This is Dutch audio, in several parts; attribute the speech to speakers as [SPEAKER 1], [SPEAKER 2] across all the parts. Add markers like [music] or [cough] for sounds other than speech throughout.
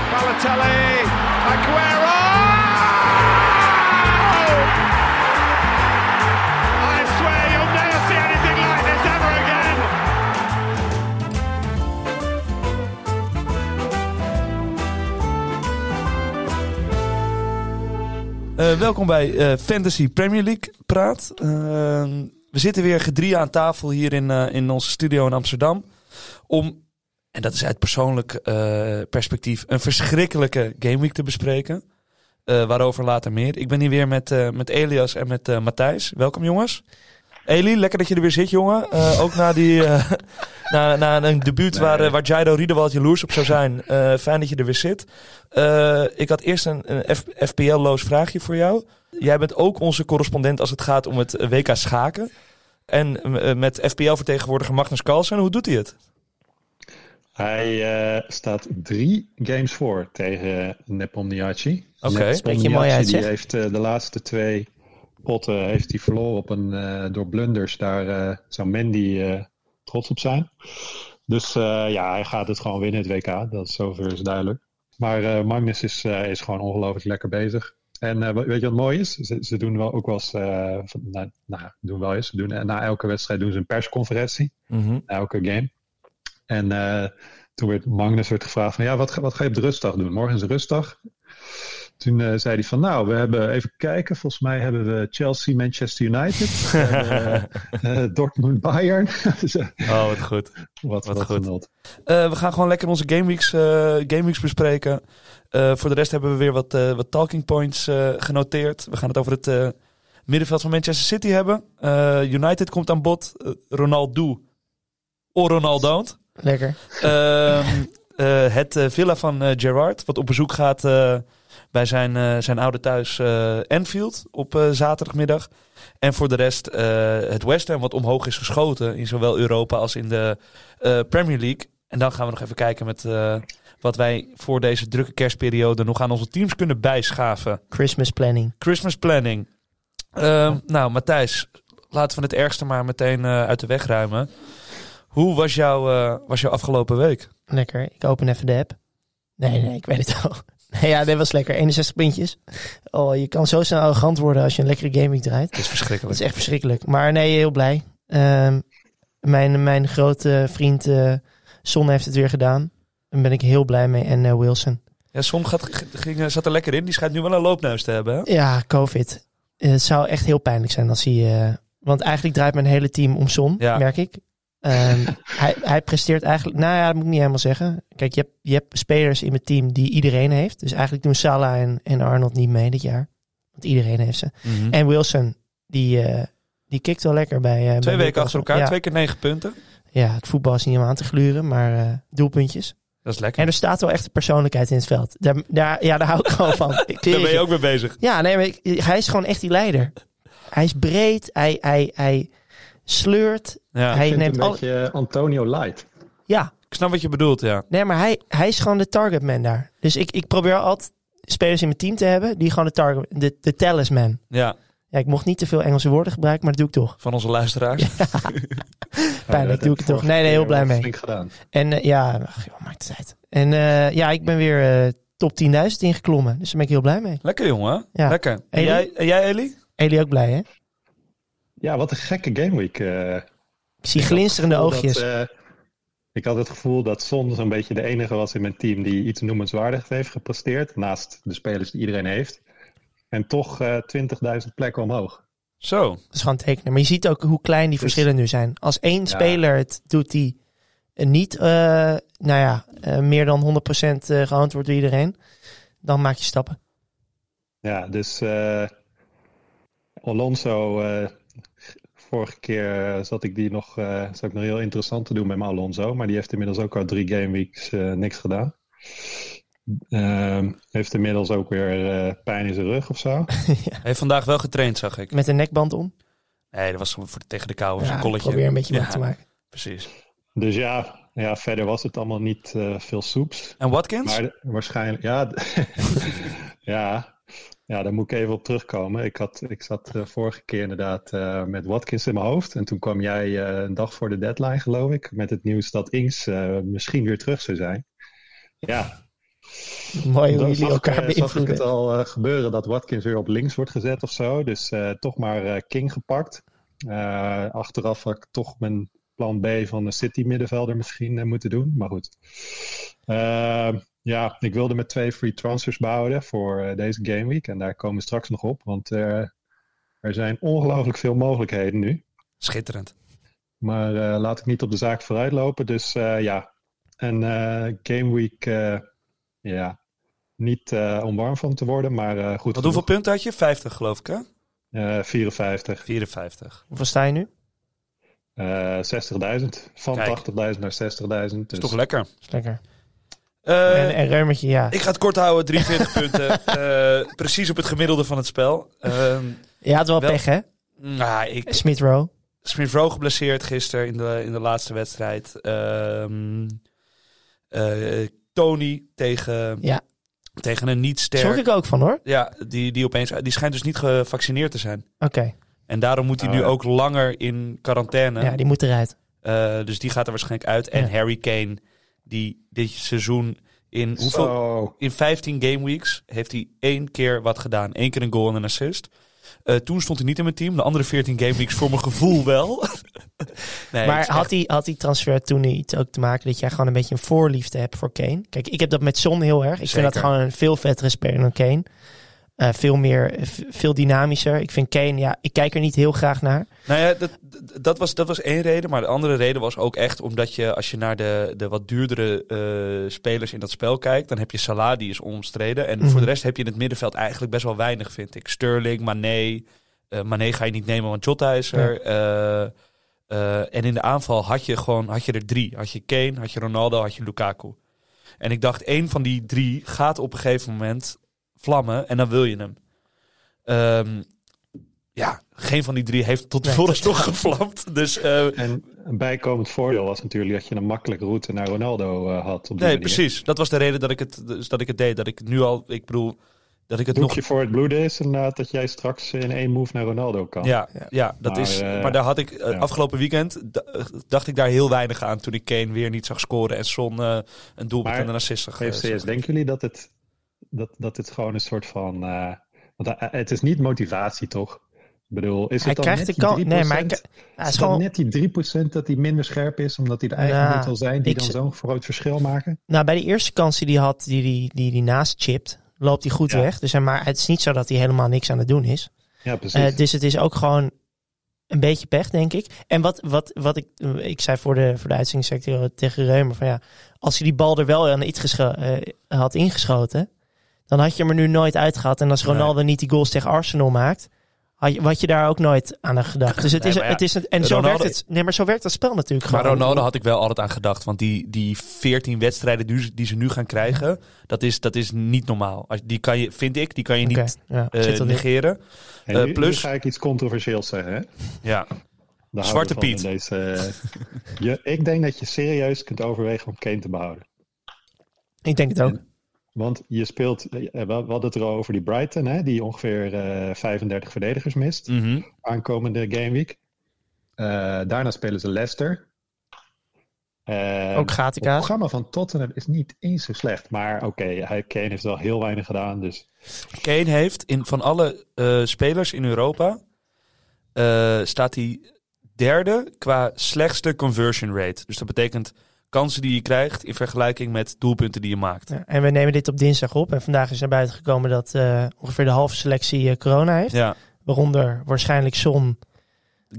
[SPEAKER 1] Balotelli, Aguero! I swear you'll never see anything like this ever again.
[SPEAKER 2] Eh, welkom bij eh, Fantasy Premier League Praat. Eh, we zitten weer gedrie aan tafel hier in, eh, in onze studio in Amsterdam. Om, en dat is uit persoonlijk eh, perspectief, een verschrikkelijke gameweek te bespreken. Eh, waarover later meer. Ik ben hier weer met, eh, met Elias en met eh, Matthijs. Welkom jongens. Eli, lekker dat je er weer zit, jongen. Eh, ook na, die, eh, [laughs] na, na een debuut waar, eh, waar Jairo Riedewald jaloers op zou zijn. Eh, fijn dat je er weer zit. Eh, ik had eerst een, een F- FPL-loos vraagje voor jou. Jij bent ook onze correspondent als het gaat om het eh, WK schaken. En eh, met FPL-vertegenwoordiger Magnus Carlsen, hoe doet hij het?
[SPEAKER 3] Hij eh, staat drie games voor tegen Nepomniachtchi.
[SPEAKER 2] Oké.
[SPEAKER 3] Nepomniachtchi
[SPEAKER 4] Spreek je mooi uit, zeg.
[SPEAKER 3] Die heeft eh, de laatste twee potten heeft hij verloren op een, eh, door blunders. Daar eh, zou Mandy eh, trots op zijn. Dus eh, ja, hij gaat het gewoon winnen, het WK. Dat is zover is duidelijk. Maar eh, Magnus is, eh, is gewoon ongelooflijk lekker bezig. En eh, weet je wat mooi is? Ze, ze doen wel ook wel eens, eh, van- nou, nou, doen wel eens. Ze doen, na elke wedstrijd doen ze een persconferentie
[SPEAKER 2] [laughs]
[SPEAKER 3] elke game. En eh, toen werd Magnus werd gevraagd van ja, wat ga, wat ga je op de rustdag doen? Morgen is rustdag. Toen eh, zei hij van nou, we hebben even kijken. Volgens mij hebben we Chelsea, Manchester United, [laughs] we hebben, eh, eh, Dortmund, Bayern. [laughs] Dus, eh,
[SPEAKER 2] Oh, wat goed.
[SPEAKER 3] wat,
[SPEAKER 2] Wat
[SPEAKER 3] wat,
[SPEAKER 2] goed.
[SPEAKER 3] genot.
[SPEAKER 2] Eh, we gaan gewoon lekker onze gameweeks, eh, gameweeks bespreken. Eh, voor de rest hebben we weer wat, eh, wat talking points eh, genoteerd. We gaan het over het eh, middenveld van Manchester City hebben. Eh, United komt aan bod. Eh, Ronaldo. Of Ronaldo.
[SPEAKER 4] Lekker.
[SPEAKER 2] Ehm, eh, het eh, villa van eh, Gerard, wat op bezoek gaat eh, bij zijn, eh, zijn oude thuis eh Enfield op eh, zaterdagmiddag. En voor de rest eh, het West Ham, wat omhoog is geschoten in zowel Europa als in de eh, Premier League. En dan gaan we nog even kijken met eh, wat wij voor deze drukke kerstperiode nog aan onze teams kunnen bijschaven.
[SPEAKER 4] Christmas planning.
[SPEAKER 2] Christmas planning. Ehm, nou, Matthijs, laten we het ergste maar meteen eh, uit de weg ruimen. Hoe was jouw, eh, was jouw afgelopen week?
[SPEAKER 4] Lekker. Ik open even de app. Nee, nee, ik weet het al. [laughs] Nee, ja, dit was lekker. 61 puntjes. Oh, je kan zo snel arrogant worden als je een lekkere gaming draait.
[SPEAKER 2] Het is
[SPEAKER 4] Dat
[SPEAKER 2] verschrikkelijk.
[SPEAKER 4] is echt verschrikkelijk. Maar nee, heel blij. Ehm, mijn, mijn grote vriend eh Son heeft het weer gedaan. Daar ben ik heel blij mee. En eh, Wilson.
[SPEAKER 2] Ja, Son gaat, g- ging, eh, zat er lekker in. Die schijnt nu wel een loopneus te hebben. hè?
[SPEAKER 4] Ja, COVID. Eh, het zou echt heel pijnlijk zijn als hij... eh, want eigenlijk draait mijn hele team om Son,
[SPEAKER 2] Ja.
[SPEAKER 4] merk ik. Ehm, [laughs] hij, hij presteert eigenlijk... Nou ja, dat moet ik niet helemaal zeggen. Kijk, je hebt, je hebt spelers in mijn team die iedereen heeft. Dus eigenlijk doen Salah en, en Arnold niet mee dit jaar. Want iedereen heeft ze.
[SPEAKER 2] Mhm.
[SPEAKER 4] En Wilson, die, eh, die kikt wel lekker bij... eh, bij
[SPEAKER 2] Twee weken
[SPEAKER 4] Newcastle.
[SPEAKER 2] achter elkaar,
[SPEAKER 4] Ja,
[SPEAKER 2] twee keer negen punten.
[SPEAKER 4] ja, het voetbal is niet om aan te gluren, maar eh, doelpuntjes.
[SPEAKER 2] Dat is lekker.
[SPEAKER 4] En er staat wel echt een persoonlijkheid in het veld. Daar, daar, ja, daar hou ik gewoon van. Ik
[SPEAKER 2] [laughs] Daar
[SPEAKER 4] zweer
[SPEAKER 2] ben je
[SPEAKER 4] het
[SPEAKER 2] ook mee bezig.
[SPEAKER 4] ja, nee, maar ik- hij is gewoon echt die leider. Hij is breed, hij, hij, hij sleurt,
[SPEAKER 2] Ja.
[SPEAKER 3] Ik
[SPEAKER 4] hij
[SPEAKER 3] vind het
[SPEAKER 4] neemt
[SPEAKER 3] een
[SPEAKER 4] al...
[SPEAKER 3] beetje eh, Antonio Light.
[SPEAKER 4] Ja,
[SPEAKER 2] Ik snap wat je bedoelt, ja.
[SPEAKER 4] nee, maar hij, hij is gewoon de targetman daar. Dus ik, ik probeer altijd spelers in mijn team te hebben die gewoon de target, de, de talisman.
[SPEAKER 2] ja.
[SPEAKER 4] Ja, ik mocht niet te veel Engelse woorden gebruiken, maar dat doe ik toch.
[SPEAKER 2] Van onze luisteraars.
[SPEAKER 4] Pijnlijk,
[SPEAKER 3] Oh, dat
[SPEAKER 4] doe
[SPEAKER 3] heb
[SPEAKER 4] ik het toch.
[SPEAKER 3] vorige
[SPEAKER 4] Nee, nee, heel
[SPEAKER 3] keer eh,
[SPEAKER 4] blij mee.
[SPEAKER 3] Flink gedaan.
[SPEAKER 4] En eh, ja, ach, joh, maakt het uit. En eh, ja, ik ben weer eh, top 10.000 ingeklommen, dus daar ben ik heel blij mee.
[SPEAKER 2] Lekker, jongen.
[SPEAKER 4] Ja.
[SPEAKER 2] Lekker. En
[SPEAKER 4] Eli?
[SPEAKER 2] jij, en jij Eli?
[SPEAKER 4] Eli ook blij, hè?
[SPEAKER 3] Ja, wat een gekke gameweek. eh.
[SPEAKER 4] Ik zie glinsterende
[SPEAKER 3] gevoel
[SPEAKER 4] oogjes.
[SPEAKER 3] dat, eh, ik had het gevoel dat Son zo'n beetje de enige was in mijn team die iets noemenswaardigs heeft gepresteerd. Naast de spelers die iedereen heeft. En toch eh 20.000 plekken omhoog.
[SPEAKER 2] Zo.
[SPEAKER 4] Dat is gewoon tekenen. Maar je ziet ook hoe klein die
[SPEAKER 2] Dus-
[SPEAKER 4] verschillen nu zijn. Als één speler het doet die niet, eh, nou ja, eh, meer dan 100% eh, gehoond wordt door iedereen, dan maak je stappen.
[SPEAKER 3] Ja, dus eh, Alonso. eh, vorige keer eh, zat ik die nog, eh zat ik nog heel interessant te doen met mijn Alonso. Maar die heeft inmiddels ook al drie gameweeks eh, niks gedaan. Ehm, heeft inmiddels ook weer eh, pijn in zijn rug of zo.
[SPEAKER 2] Hij heeft vandaag wel getraind, zag ik.
[SPEAKER 4] Met een nekband om.
[SPEAKER 2] Nee, dat was voor, tegen de kou. of
[SPEAKER 4] Ja,
[SPEAKER 2] zo'n
[SPEAKER 4] ik
[SPEAKER 2] kolletje.
[SPEAKER 4] probeer een beetje
[SPEAKER 2] Ja,
[SPEAKER 4] makkelijk te maken.
[SPEAKER 2] Precies.
[SPEAKER 3] Dus ja, ja, verder was het allemaal niet eh, veel soeps.
[SPEAKER 2] En Watkins?
[SPEAKER 3] Maar de- waarschijnlijk, ja, d- [laughs] ja, ja, daar moet ik even op terugkomen. Ik, had, ik zat eh, vorige keer inderdaad eh, met Watkins in mijn hoofd. En toen kwam jij eh, een dag voor de deadline, geloof ik, met het nieuws dat Ings eh, misschien weer terug zou zijn. Ja,
[SPEAKER 4] Mooi hoe
[SPEAKER 3] Dan
[SPEAKER 4] jullie
[SPEAKER 3] zag ik,
[SPEAKER 4] elkaar
[SPEAKER 3] eh, zag ik
[SPEAKER 4] beïnvloeden.
[SPEAKER 3] het al eh, gebeuren dat Watkins weer op links wordt gezet of zo. Dus eh, toch maar eh, King gepakt. Eh, achteraf had ik toch mijn plan B van een City middenvelder misschien eh, moeten doen. Maar goed. Eh, ja, ik wilde met twee free transfers behouden voor eh, deze gameweek. En daar komen we straks nog op. Want eh, er zijn ongelooflijk veel mogelijkheden nu.
[SPEAKER 2] Schitterend.
[SPEAKER 3] Maar eh, laat ik niet op de zaak vooruitlopen. Dus eh, ja, en eh Game Week, eh, ja, niet eh, om warm van te worden, maar eh, goed.
[SPEAKER 2] Want hoeveel punten had je? 50 geloof ik hè?
[SPEAKER 3] genoeg. Eh, 54.
[SPEAKER 2] 54.
[SPEAKER 4] Hoeveel sta je nu?
[SPEAKER 3] Eh, 60.000. Van
[SPEAKER 2] Kijk.
[SPEAKER 3] 80.000 naar 60.000. Dus
[SPEAKER 2] is toch lekker.
[SPEAKER 4] Dat is lekker.
[SPEAKER 2] Eh,
[SPEAKER 4] en, en Reumertje, ja.
[SPEAKER 2] ik ga het kort houden, 43 [laughs] punten. Eh, precies op het gemiddelde van het spel. Ehm
[SPEAKER 4] Je had wel,
[SPEAKER 2] Wel-
[SPEAKER 4] pech, hè?
[SPEAKER 2] nou, ik,
[SPEAKER 4] Smith Rowe.
[SPEAKER 2] Smith Rowe geblesseerd gisteren in de, in de laatste wedstrijd. Ehm, eh, Tony tegen,
[SPEAKER 4] Ja.
[SPEAKER 2] tegen een niet
[SPEAKER 4] Zorg
[SPEAKER 2] sterk.
[SPEAKER 4] ik ook van, hoor.
[SPEAKER 2] Ja, die, die, opeens, die schijnt dus niet gevaccineerd te zijn.
[SPEAKER 4] Oké.
[SPEAKER 2] En daarom moet hij
[SPEAKER 3] Oh,
[SPEAKER 2] nu
[SPEAKER 3] ja.
[SPEAKER 2] ook langer in quarantaine.
[SPEAKER 4] Ja, die moet eruit.
[SPEAKER 2] Eh, dus die gaat er waarschijnlijk uit. En
[SPEAKER 4] Ja.
[SPEAKER 2] Harry Kane, die dit seizoen in, hoeveel,
[SPEAKER 3] Zo.
[SPEAKER 2] in 15 gameweeks heeft hij één keer wat gedaan. Eén keer een goal en een assist. Eh, toen stond hij niet in mijn team. De andere 14 gameweeks voor mijn gevoel wel. [laughs] nee, het is
[SPEAKER 4] maar
[SPEAKER 2] echt-
[SPEAKER 4] had die, had die transfer toen iets ook te maken dat jij gewoon een beetje een voorliefde hebt voor Kane? Kijk, ik heb dat met Son heel erg. Ik vind
[SPEAKER 2] Zeker.
[SPEAKER 4] dat gewoon een veel vettere speler dan Kane. Eh, veel meer, eh, v- veel dynamischer. Ik vind Kane, ja, ik kijk er niet heel graag naar.
[SPEAKER 2] Nou ja, dat, dat- dat, was, dat was één reden. Maar de andere reden was ook echt omdat je, als je naar de, de wat duurdere eh, spelers in dat spel kijkt, dan heb je Salah, die is omstreden. En
[SPEAKER 4] Mhm.
[SPEAKER 2] voor de rest heb je in het middenveld eigenlijk best wel weinig, vind ik. Sterling, Mané. eh Mané ga je niet nemen, want Jota is er. Eh, eh, en in de aanval had je gewoon had je er drie. Had je Kane, had je Ronaldo, had je Lukaku. En ik dacht, één van die drie gaat op een gegeven moment vlammen en dan wil je hem. Ehm, ja, geen van die drie heeft tot
[SPEAKER 4] Nee,
[SPEAKER 2] voor ons toch gevlamd. Dus eh,
[SPEAKER 3] En een bijkomend voordeel was natuurlijk dat je een makkelijke route naar Ronaldo eh, had. Op die
[SPEAKER 2] nee,
[SPEAKER 3] manier.
[SPEAKER 2] precies. Dat was de reden dat ik het, dus dat ik het deed. Dat ik nu al, ik bedoel, dat ik het nog.
[SPEAKER 3] Boekje voor het bloed is inderdaad dat jij straks in één move naar Ronaldo kan.
[SPEAKER 2] Ja, ja. dat
[SPEAKER 3] Maar,
[SPEAKER 2] is.
[SPEAKER 3] eh,
[SPEAKER 2] maar daar had ik eh,
[SPEAKER 3] ja.
[SPEAKER 2] afgelopen weekend d- eh, dacht ik daar heel weinig aan toen ik Kane weer niet zag scoren en Son eh, een doelpunt
[SPEAKER 3] Maar
[SPEAKER 2] en een assist zag. eh,
[SPEAKER 3] GFCS,
[SPEAKER 2] zag.
[SPEAKER 3] denken jullie dat het, dat, dat het gewoon een soort van. eh, want eh, het is niet motivatie, toch? Ik bedoel, is het
[SPEAKER 4] Hij
[SPEAKER 3] dan
[SPEAKER 4] krijgt
[SPEAKER 3] net
[SPEAKER 4] de
[SPEAKER 3] die 3%,
[SPEAKER 4] kans. Nee, maar hij,
[SPEAKER 3] is
[SPEAKER 4] k- hij is
[SPEAKER 3] het dan
[SPEAKER 4] gewoon.
[SPEAKER 3] net die 3% dat hij minder scherp is, omdat hij er eigenlijk
[SPEAKER 4] Nou,
[SPEAKER 3] niet wil zijn, die
[SPEAKER 4] ik
[SPEAKER 3] dan
[SPEAKER 4] z-
[SPEAKER 3] zo'n groot verschil maken?
[SPEAKER 4] Nou, bij de eerste kans die hij had, die hij die, die, die naast chipt, loopt hij goed
[SPEAKER 3] Ja.
[SPEAKER 4] weg. Dus, hij- maar het is niet zo dat hij helemaal niks aan het doen is.
[SPEAKER 3] Ja, precies.
[SPEAKER 4] Eh, dus het is ook gewoon een beetje pech, denk ik. En wat, wat, wat ik, ik zei voor de, voor de uitzending zei ik tegen- tegen Reumer: van ja, als hij die bal er wel aan iets gescho- eh, had ingeschoten, dan had je hem er nu nooit uitgehad. En als
[SPEAKER 2] Nee.
[SPEAKER 4] Ronaldo niet die goals tegen Arsenal maakt, had je, had je daar ook nooit aan had
[SPEAKER 2] [laughs]
[SPEAKER 4] gedacht. Dus het
[SPEAKER 2] Nee,
[SPEAKER 4] is,
[SPEAKER 2] maar ja,
[SPEAKER 4] het is een- en zo
[SPEAKER 2] Ronaldo-
[SPEAKER 4] werkt het. Nee, maar zo werkt dat spel natuurlijk
[SPEAKER 2] Maar
[SPEAKER 4] gewoon.
[SPEAKER 2] Ronaldo had ik wel altijd aan gedacht. Want die, die 14 wedstrijden die, ze- die ze nu gaan krijgen, dat is, dat is niet normaal. Als- Die kan je, vind ik, die kan je
[SPEAKER 4] Oké,
[SPEAKER 2] niet
[SPEAKER 4] ja,
[SPEAKER 2] eh,
[SPEAKER 4] zit dat in.
[SPEAKER 2] negeren.
[SPEAKER 3] En
[SPEAKER 2] eh,
[SPEAKER 3] nu,
[SPEAKER 2] plus-
[SPEAKER 3] nu ga ik iets controversieels zeggen. Hè?
[SPEAKER 2] Ja.
[SPEAKER 3] Daar
[SPEAKER 2] Zwarte
[SPEAKER 3] houden we van
[SPEAKER 2] Piet.
[SPEAKER 3] in Deze, eh, je, ik denk dat je serieus kunt overwegen om Kane te behouden.
[SPEAKER 4] Ik denk het ook.
[SPEAKER 3] Want je speelt, eh, we we hadden het er al over die Brighton, hè, die ongeveer eh, 35 verdedigers mist.
[SPEAKER 2] Mhm.
[SPEAKER 3] aankomende gameweek. Eh, daarna spelen ze Leicester. Eh,
[SPEAKER 4] Ook
[SPEAKER 3] het
[SPEAKER 4] gatenkaas.
[SPEAKER 3] programma van Tottenham is niet eens zo slecht. Maar oké, hij Kane heeft wel heel weinig gedaan. Dus
[SPEAKER 2] Kane heeft in, van alle eh, spelers in Europa, eh, staat hij derde qua slechtste conversion rate. Dus dat betekent kansen die je krijgt in vergelijking met doelpunten die je maakt.
[SPEAKER 4] Ja, en we nemen dit op dinsdag op. En vandaag is naar buiten gekomen dat eh, ongeveer de halve selectie eh, corona heeft.
[SPEAKER 2] Ja,
[SPEAKER 4] Waaronder waarschijnlijk Son.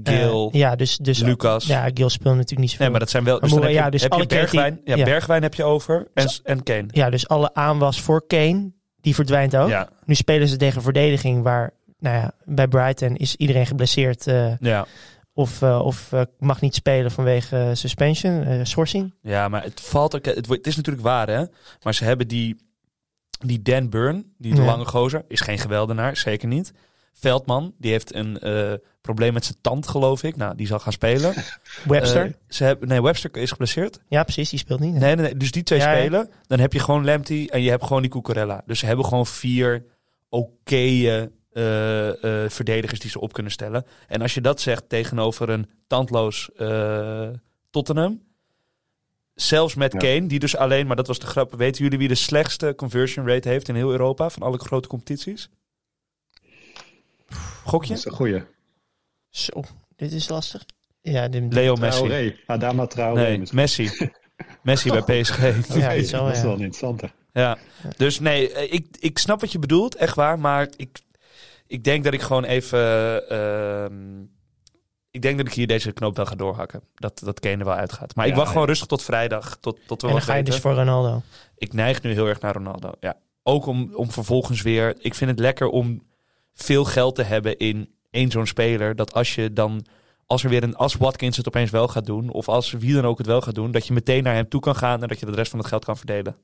[SPEAKER 4] eh,
[SPEAKER 2] Gil,
[SPEAKER 4] ja, dus, dus
[SPEAKER 2] Lucas.
[SPEAKER 4] Ja, Gil speelt natuurlijk niet zoveel.
[SPEAKER 2] Nee, maar dat zijn wel. Dus
[SPEAKER 4] Maar
[SPEAKER 2] dan heb je,
[SPEAKER 4] ja, dus
[SPEAKER 2] heb je
[SPEAKER 4] alle creatief-
[SPEAKER 2] Bergwijn. Ja,
[SPEAKER 4] ja.
[SPEAKER 2] Bergwijn heb je over. En, en Kane.
[SPEAKER 4] Ja, dus alle aanwas voor Kane, die verdwijnt ook.
[SPEAKER 2] Ja,
[SPEAKER 4] Nu spelen ze tegen verdediging waar, nou ja, bij Brighton is iedereen geblesseerd eh,
[SPEAKER 2] ja.
[SPEAKER 4] of, eh, of eh, mag niet spelen vanwege eh, suspension, eh, schorsing.
[SPEAKER 2] ja, maar het valt ook. Het, wordt- het is natuurlijk waar, hè? Maar ze hebben die, die Dan Burn, die de
[SPEAKER 4] Ja.
[SPEAKER 2] lange gozer, is geen geweldenaar, zeker niet. Veldman, die heeft een eh, probleem met zijn tand, geloof ik. Nou, die zal gaan spelen.
[SPEAKER 4] Webster.
[SPEAKER 2] Eh, ze hebben, nee, Webster is geblesseerd.
[SPEAKER 4] ja, precies, die speelt niet.
[SPEAKER 2] Nee, nee, nee, dus die twee
[SPEAKER 4] Ja, ja.
[SPEAKER 2] spelen. Dan heb je gewoon Lemty en je hebt gewoon die Cucurella. Dus ze hebben gewoon vier oké verdedigers die ze op kunnen stellen. En als je dat zegt tegenover een tandloos eh, Tottenham... Zelfs met
[SPEAKER 3] Ja.
[SPEAKER 2] Kane, die dus alleen, maar dat was de grap. Weten jullie wie de slechtste conversion rate heeft in heel Europa van alle grote competities?
[SPEAKER 3] Dat
[SPEAKER 2] Gokje?
[SPEAKER 3] is een goeie.
[SPEAKER 4] Zo, dit is lastig. Ja, dit,
[SPEAKER 2] Leo Messi.
[SPEAKER 3] Traoré. Adama Traoré.
[SPEAKER 2] Nee,
[SPEAKER 3] misschien. [laughs]
[SPEAKER 2] Messi. Messi bij PSG.
[SPEAKER 4] Ja,
[SPEAKER 3] Oké,
[SPEAKER 4] dit is wel,
[SPEAKER 3] dat is
[SPEAKER 4] ja.
[SPEAKER 3] wel een interessante.
[SPEAKER 2] Ja, dus nee, eh, ik, ik snap wat je bedoelt, echt waar. Maar ik, ik denk dat ik gewoon even... ehm, ik denk dat ik hier deze knoop wel ga doorhakken. Dat, dat Kane er wel uitgaat. Maar ik
[SPEAKER 3] Ja,
[SPEAKER 2] wacht gewoon
[SPEAKER 3] ja.
[SPEAKER 2] rustig tot vrijdag. Tot, tot we
[SPEAKER 4] en dan
[SPEAKER 2] wat
[SPEAKER 4] ga je
[SPEAKER 2] weten.
[SPEAKER 4] dus voor Ronaldo.
[SPEAKER 2] Ik neig nu heel erg naar Ronaldo. Ja. Ook om, om vervolgens weer... Ik vind het lekker om veel geld te hebben in één zo'n speler. Dat als je dan... Als, er weer een, als Watkins het opeens wel gaat doen, of als wie dan ook het wel gaat doen, dat je meteen naar hem toe kan gaan en dat je de rest van het geld kan verdelen.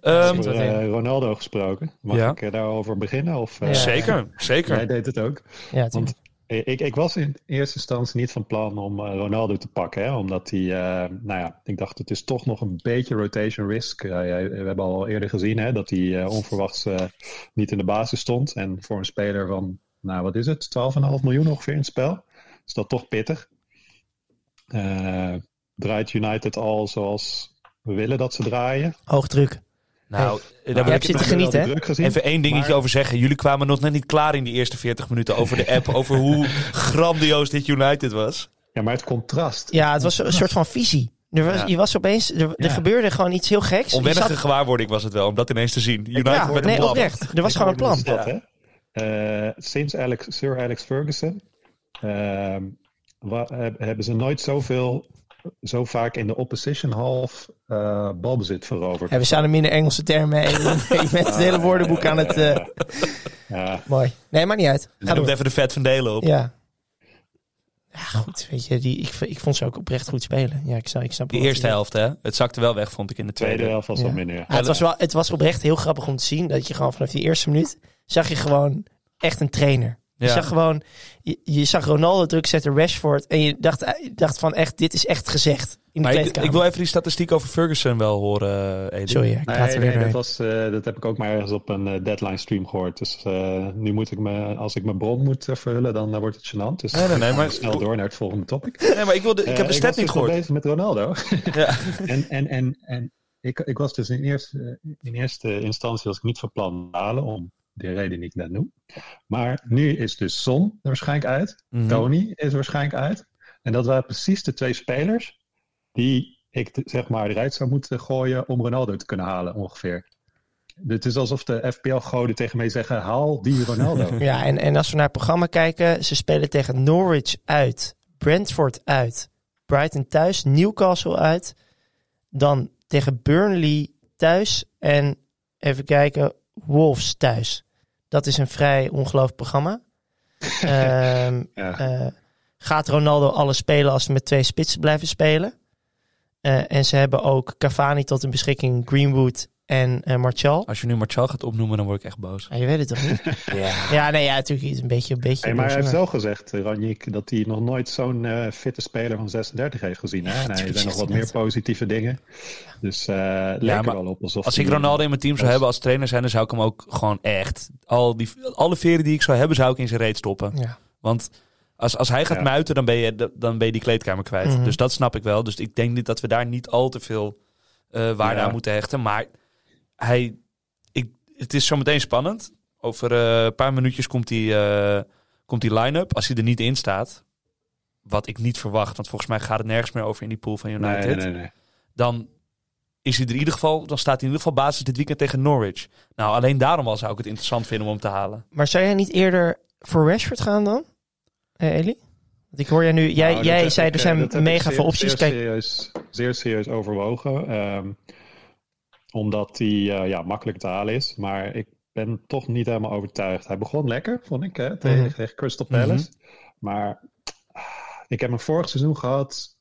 [SPEAKER 2] Ehm,
[SPEAKER 3] Over eh, Ronaldo gesproken. Mag
[SPEAKER 2] Ja.
[SPEAKER 3] ik eh, daarover beginnen? Of, eh,
[SPEAKER 4] Ja.
[SPEAKER 2] Zeker, zeker.
[SPEAKER 3] Jij deed het ook.
[SPEAKER 4] Ja, natuurlijk.
[SPEAKER 3] Eh, Ik, ik was in eerste instantie niet van plan om eh, Ronaldo te pakken. Hè, omdat hij, eh, nou ja, ik dacht het is toch nog een beetje rotation risk. Eh, ja, we hebben al eerder gezien hè, dat hij eh, onverwachts eh, niet in de basis stond. En voor een speler van, nou wat is het, 12,5 miljoen ongeveer in het spel. Is dat toch pittig. Eh, draait United al zoals we willen dat ze draaien?
[SPEAKER 4] Hoogdruk.
[SPEAKER 2] Nou, daar
[SPEAKER 4] je
[SPEAKER 2] wil
[SPEAKER 4] hebt
[SPEAKER 2] ik
[SPEAKER 4] zitten
[SPEAKER 2] even-
[SPEAKER 4] genieten, hè?
[SPEAKER 3] Druk gezien.
[SPEAKER 2] even één dingetje
[SPEAKER 3] Maar-
[SPEAKER 2] over zeggen. Jullie kwamen nog net niet klaar in die eerste 40 minuten over de app. over hoe
[SPEAKER 3] [laughs]
[SPEAKER 2] grandioos dit United was.
[SPEAKER 3] Ja, maar het contrast.
[SPEAKER 4] Ja, het was een soort van visie. Er was,
[SPEAKER 2] Ja.
[SPEAKER 4] Je was opeens, er, er
[SPEAKER 3] Ja.
[SPEAKER 4] gebeurde gewoon iets heel geks. Je
[SPEAKER 2] Onwennige
[SPEAKER 4] zat-
[SPEAKER 2] gewaarwording was het wel, om dat ineens te zien. United
[SPEAKER 4] ja,
[SPEAKER 2] met een
[SPEAKER 4] nee,
[SPEAKER 2] plan.
[SPEAKER 4] oprecht. Er was gewoon een plan.
[SPEAKER 3] Dus dat, hè? Eh, sinds Alex, Sir Alex Ferguson ehm, wa- heb- hebben ze nooit zoveel, zo vaak in de opposition half eh, balbezit veroverd.
[SPEAKER 4] Ja, we staan er minder Engelse termen [laughs] mee. Ik ben het hele woordenboek aan het... eh,
[SPEAKER 3] Ja,
[SPEAKER 4] [laughs] mooi. Nee, maakt niet uit. Ga
[SPEAKER 2] Hij noemt
[SPEAKER 4] door.
[SPEAKER 2] even de vet van Delen op.
[SPEAKER 4] Ja. Ja, goed. Weet je, die, ik, v- ik vond ze ook oprecht goed spelen. Ja, ik snap, ik snap
[SPEAKER 2] De
[SPEAKER 4] wel wat
[SPEAKER 2] eerste
[SPEAKER 4] je-
[SPEAKER 2] helft, hè? Het zakte wel weg, vond ik in de tweede.
[SPEAKER 3] tweede helft was wel
[SPEAKER 4] Ja.
[SPEAKER 3] minder.
[SPEAKER 4] Ja, het, was wel, het was oprecht heel grappig om te zien dat je gewoon vanaf die eerste minuut zag je gewoon echt een trainer. Je
[SPEAKER 2] Ja.
[SPEAKER 4] zag gewoon, je, je zag Ronaldo druk zetten, Rashford. En je dacht, eh, je dacht van echt, dit is echt gezegd. In de
[SPEAKER 2] Maar ik,
[SPEAKER 4] kleedkamer.
[SPEAKER 2] ik wil even die statistiek over Ferguson wel horen, eh, Edith.
[SPEAKER 4] Sorry, ja, ik
[SPEAKER 3] Nee,
[SPEAKER 4] praat er
[SPEAKER 3] nee,
[SPEAKER 4] weer
[SPEAKER 3] dat,
[SPEAKER 4] doorheen.
[SPEAKER 3] was, eh, dat heb ik ook maar ergens op een eh, deadline stream gehoord. Dus eh, nu moet ik me, als ik mijn bron moet eh, verhullen, dan eh, wordt het gênant. Dus
[SPEAKER 2] Nee, nee,
[SPEAKER 3] [laughs]
[SPEAKER 2] nee, maar,
[SPEAKER 3] snel door naar het volgende topic.
[SPEAKER 2] nee, maar ik, wilde, ik heb
[SPEAKER 3] Eh,
[SPEAKER 2] de
[SPEAKER 3] was
[SPEAKER 2] stat
[SPEAKER 3] dus
[SPEAKER 2] niet
[SPEAKER 3] nog
[SPEAKER 2] gehoord.
[SPEAKER 3] bezig met Ronaldo.
[SPEAKER 2] Ja.
[SPEAKER 3] [laughs] en en, en, en ik, ik was dus in eerste, in eerste instantie was ik niet van plan om te halen, om de reden die ik net noem. Maar nu is dus Son er waarschijnlijk uit.
[SPEAKER 2] Mhm.
[SPEAKER 3] Tony is er waarschijnlijk uit. En dat waren precies de twee spelers die ik t- zeg maar eruit zou moeten gooien om Ronaldo te kunnen halen ongeveer. Dus Het is alsof de FPL-goden tegen mij zeggen: haal
[SPEAKER 2] [laughs]
[SPEAKER 3] die Ronaldo.
[SPEAKER 4] Ja, en, en als we naar het programma kijken, ze spelen tegen Norwich uit, Brentford uit, Brighton thuis, Newcastle uit, dan tegen Burnley thuis en even kijken, Wolves thuis. Dat is een vrij ongelooflijk programma. Ehm,
[SPEAKER 3] ja.
[SPEAKER 4] eh, gaat Ronaldo alles spelen als ze met twee spitsen blijven spelen? Eh, en ze hebben ook Cavani tot hun beschikking, Greenwood en eh, Martial.
[SPEAKER 2] Als je nu Martial gaat opnoemen, dan word ik echt boos.
[SPEAKER 4] Ah, je weet het toch
[SPEAKER 3] [laughs]
[SPEAKER 4] niet?
[SPEAKER 2] Ja.
[SPEAKER 4] Ja, nee, ja, natuurlijk iets- een beetje, een beetje.
[SPEAKER 3] Hey, maar hij heeft
[SPEAKER 4] boos,
[SPEAKER 3] zelf gezegd, eh, Ranjik, dat hij nog nooit zo'n eh, fitte speler van 36 heeft gezien. Hè? En er
[SPEAKER 4] tuurlijk
[SPEAKER 3] zijn nog
[SPEAKER 4] zegt
[SPEAKER 3] wat
[SPEAKER 4] hij
[SPEAKER 3] meer
[SPEAKER 4] dat.
[SPEAKER 3] positieve dingen. Dus eh lijkt
[SPEAKER 2] maar
[SPEAKER 3] er wel op alsof
[SPEAKER 2] Als ik
[SPEAKER 3] hij-
[SPEAKER 2] Ronaldo in mijn team zou
[SPEAKER 3] Yes.
[SPEAKER 2] hebben als trainer zijn, dan zou ik hem ook gewoon echt... Al die, alle veren die ik zou hebben, zou ik in zijn reet stoppen.
[SPEAKER 4] maar- Ja.
[SPEAKER 2] Want als, als hij gaat
[SPEAKER 3] Ja.
[SPEAKER 2] muiten, dan ben, je, dan ben je die kleedkamer kwijt.
[SPEAKER 4] Mhm.
[SPEAKER 2] Dus dat snap ik wel. Dus ik denk niet dat we daar niet al te veel eh, waarde
[SPEAKER 3] Ja.
[SPEAKER 2] aan moeten hechten. Maar hij, ik, het is zometeen spannend. Over eh, een paar minuutjes komt die, eh, komt die line-up. Als hij er niet in staat, wat ik niet verwacht. Want volgens mij gaat het nergens meer over in die pool van United.
[SPEAKER 3] Nee, nee, nee. nee.
[SPEAKER 2] Dan is hij er in ieder geval, dan staat hij in ieder geval basis dit weekend tegen Norwich. Nou, alleen daarom al zou ik het interessant vinden om hem te halen.
[SPEAKER 4] Maar zou jij niet eerder voor Rashford gaan dan, Eh Eli? Want ik hoor jij nu, jij,
[SPEAKER 3] Nou, dat
[SPEAKER 4] jij
[SPEAKER 3] heb
[SPEAKER 4] zei
[SPEAKER 3] ik,
[SPEAKER 4] er
[SPEAKER 3] eh,
[SPEAKER 4] zijn
[SPEAKER 3] dat heb ik
[SPEAKER 4] mega
[SPEAKER 3] zeer-
[SPEAKER 4] veel opties.
[SPEAKER 3] Zeer
[SPEAKER 4] Kijk,
[SPEAKER 3] serieus, zeer serieus overwogen. ehm, omdat hij eh, ja, makkelijk te halen is. Maar ik ben toch niet helemaal overtuigd. Hij begon lekker, vond ik, hè, tegen,
[SPEAKER 4] Mhm.
[SPEAKER 3] tegen Crystal Palace. Maar ah, ik heb hem vorig seizoen gehad.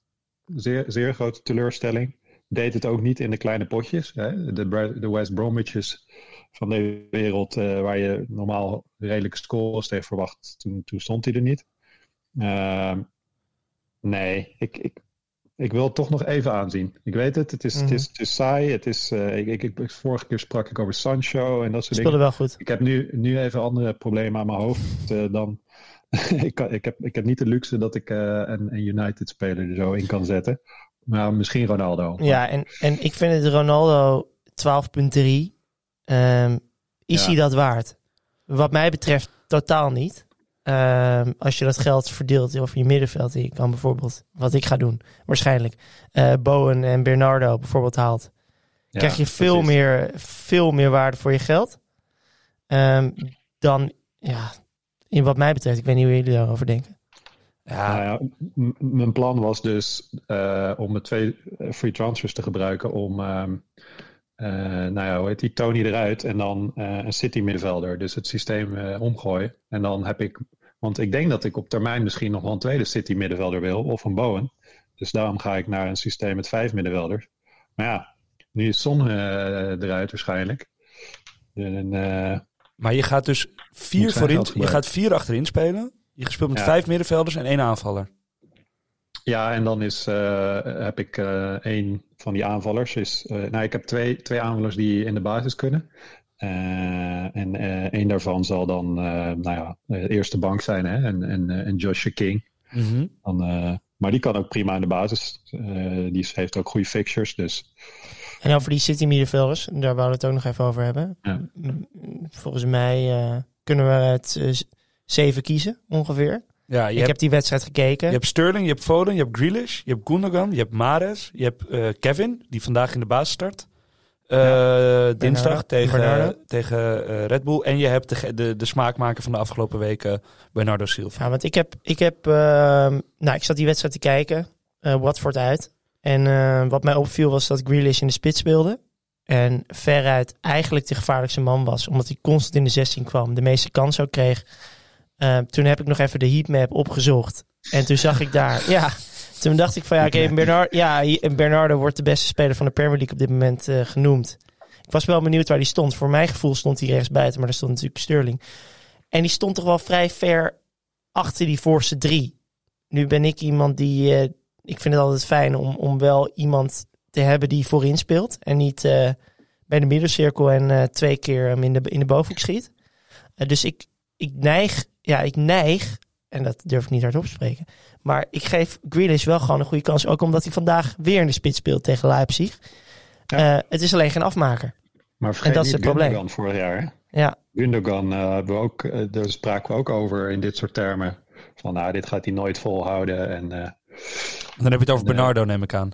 [SPEAKER 3] Zeer, zeer grote teleurstelling. Deed het ook niet in de kleine potjes. Hè? De, Bra- de West Bromwiches van de wereld, eh, waar je normaal redelijke scores tegen verwacht. Toen, toen stond hij er niet. Ehm, nee, ik, ik, ik wil het toch nog even aanzien. Ik weet het, het is, het is, het is saai. Het is, eh, ik, ik, ik- vorige keer sprak ik over Sancho en dat soort dingen.
[SPEAKER 4] speelde wel goed.
[SPEAKER 3] Ik heb nu, nu even andere problemen aan mijn hoofd eh, dan. [laughs] ik, kan, ik, heb, ik heb niet de luxe dat ik eh, een, een United-speler er zo in kan zetten. Nou, misschien Ronaldo.
[SPEAKER 4] Ja, en, en ik vind het Ronaldo 12.3. Ehm, is
[SPEAKER 3] Ja.
[SPEAKER 4] hij dat waard? Wat mij betreft totaal niet. Ehm, als je dat geld verdeelt over je middenveld, je kan bijvoorbeeld, wat ik ga doen, waarschijnlijk, eh, Bowen en Bernardo bijvoorbeeld haalt,
[SPEAKER 3] Ja,
[SPEAKER 4] krijg je veel
[SPEAKER 3] precies.
[SPEAKER 4] meer, veel meer waarde voor je geld. Ehm, dan, ja, in wat mij betreft, ik weet niet hoe jullie daarover denken.
[SPEAKER 2] Ja,
[SPEAKER 3] Nou ja, m- m- mijn plan was dus eh, om de twee eh, free transfers te gebruiken om, ehm, eh, nou ja, hoe heet die, Tony eruit en dan eh, een City middenvelder. Dus het systeem eh, omgooien. En dan heb ik, want ik denk dat ik op termijn misschien nog wel een tweede City middenvelder wil of een Bowen. Dus daarom ga ik naar een systeem met vijf middenvelders. Maar ja, nu is Son eh, eruit waarschijnlijk. En, eh,
[SPEAKER 2] maar je gaat dus vier,
[SPEAKER 3] Moet zijn
[SPEAKER 2] voorin,
[SPEAKER 3] geld
[SPEAKER 2] je
[SPEAKER 3] gebruiken.
[SPEAKER 2] gaat vier achterin spelen. Je gespeeld met
[SPEAKER 3] Ja.
[SPEAKER 2] vijf middenvelders en één aanvaller.
[SPEAKER 3] Ja, en dan is, eh, heb ik eh één van die aanvallers. Is, eh, nou, ik heb twee, twee aanvallers die in de basis kunnen. Eh, en eh één daarvan zal dan eh, nou ja, de eerste bank zijn. Hè? En, en, eh, en Joshua King. Dan, eh, maar die kan ook prima in de basis. Eh, die heeft ook goede fixtures. Dus
[SPEAKER 4] En over die City middenvelders, daar wouden we het ook nog even over hebben.
[SPEAKER 3] Ja.
[SPEAKER 4] M- Volgens mij eh, kunnen we het eh, z- zeven kiezen, ongeveer.
[SPEAKER 2] Ja, je,
[SPEAKER 4] ik
[SPEAKER 2] hebt,
[SPEAKER 4] heb die wedstrijd gekeken.
[SPEAKER 2] je hebt Sterling, je hebt Foden, je hebt Grealish, je hebt Gundogan, je hebt Mares, je hebt eh, Kevin, die vandaag in de baas start. Eh, dinsdag tegen,
[SPEAKER 4] Bernardo.
[SPEAKER 2] tegen eh, Red Bull. En je hebt de, ge- de, de smaakmaker van de afgelopen weken, Bernardo Silva.
[SPEAKER 4] Ja, want ik heb, ik heb ehm, nou, ik zat die wedstrijd te kijken, eh Watford uit. En ehm, wat mij opviel was dat Grealish in de spits speelde. En veruit eigenlijk de gevaarlijkste man was, omdat hij constant in de 16 kwam, de meeste kans ook kreeg. Ehm, toen heb ik nog even de heatmap opgezocht. En toen zag ik daar, ja, toen dacht ik van ja, oké, Bernard, ja, hier- Bernardo wordt de beste speler van de Premier League op dit moment eh, genoemd. Ik was wel benieuwd waar die stond. Voor mijn gevoel stond hij rechts buiten, maar daar stond natuurlijk Sterling. En die stond toch wel vrij ver achter die voorste drie. Nu ben ik iemand die. eh, ik vind het altijd fijn om, om wel iemand te hebben die voorin speelt. En niet eh, bij de middencirkel en eh, twee keer hem in de, in de bovenhoek schiet. Eh, dus ik, ik neig. Ja, ik neig. En dat durf ik niet hardop te spreken. Maar ik geef Grealish wel gewoon een goede kans. Ook omdat hij vandaag weer in de spits speelt tegen Leipzig. Eh, het is alleen geen afmaker.
[SPEAKER 3] Maar vergeet
[SPEAKER 4] dat is
[SPEAKER 3] niet
[SPEAKER 4] het probleem.
[SPEAKER 3] Gundogan vorig jaar. hè?
[SPEAKER 4] Ja,
[SPEAKER 3] Gundogan, eh, hebben we ook, eh, daar spraken we ook over in dit soort termen. Van nou, dit gaat hij nooit volhouden. En, eh,
[SPEAKER 2] Dan heb je het over
[SPEAKER 3] Nee.
[SPEAKER 2] Bernardo, neem ik aan.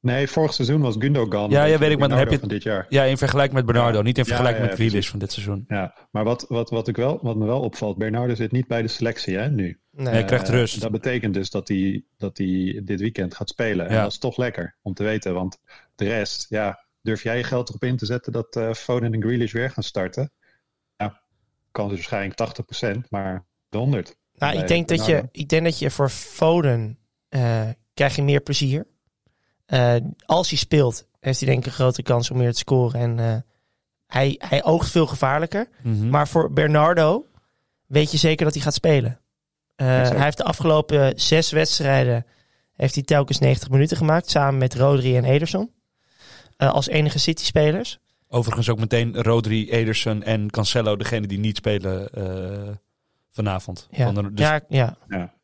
[SPEAKER 3] nee, vorig seizoen was Gundogan.
[SPEAKER 2] Ja, ja, weet ik, maar dan
[SPEAKER 3] Bernardo
[SPEAKER 2] heb je-
[SPEAKER 3] van dit jaar.
[SPEAKER 2] Ja, in vergelijking met Bernardo,
[SPEAKER 3] Ja.
[SPEAKER 2] niet in
[SPEAKER 3] Ja,
[SPEAKER 2] vergelijking
[SPEAKER 3] ja,
[SPEAKER 2] met
[SPEAKER 3] ja,
[SPEAKER 2] Grealish van dit seizoen.
[SPEAKER 3] Ja, maar wat, wat, wat, ik wel, wat me wel opvalt, Bernardo zit niet bij de selectie hè, nu.
[SPEAKER 4] nee.
[SPEAKER 2] Nee, Hij krijgt
[SPEAKER 3] Eh,
[SPEAKER 2] rust.
[SPEAKER 3] Dat betekent dus dat hij, dat hij dit weekend gaat spelen. En
[SPEAKER 2] Ja.
[SPEAKER 3] dat is toch lekker om te weten. Want de rest, ja, durf jij je geld erop in te zetten dat eh, Foden en Grealish weer gaan starten? Ja, kans is waarschijnlijk 80%, maar de 100.
[SPEAKER 4] Nou,
[SPEAKER 3] bij
[SPEAKER 4] ik denk, dat je,
[SPEAKER 3] Bernardo.
[SPEAKER 4] ik denk dat je voor Foden eh, krijg je meer plezier. Eh, als hij speelt, heeft hij denk ik een grote kans om meer te scoren. En eh, hij, hij oogt veel gevaarlijker.
[SPEAKER 2] Mhm.
[SPEAKER 4] Maar voor Bernardo weet je zeker dat hij gaat spelen. Eh,
[SPEAKER 3] Exact.
[SPEAKER 4] hij heeft de afgelopen zes wedstrijden heeft hij telkens 90 minuten gemaakt. Samen met Rodri en Ederson. Eh, als enige City-spelers.
[SPEAKER 2] Overigens ook meteen Rodri, Ederson en Cancelo, degene die niet spelen eh, vanavond.
[SPEAKER 4] Ja.
[SPEAKER 2] Want er- dus-
[SPEAKER 4] ja, ja.
[SPEAKER 3] Ja.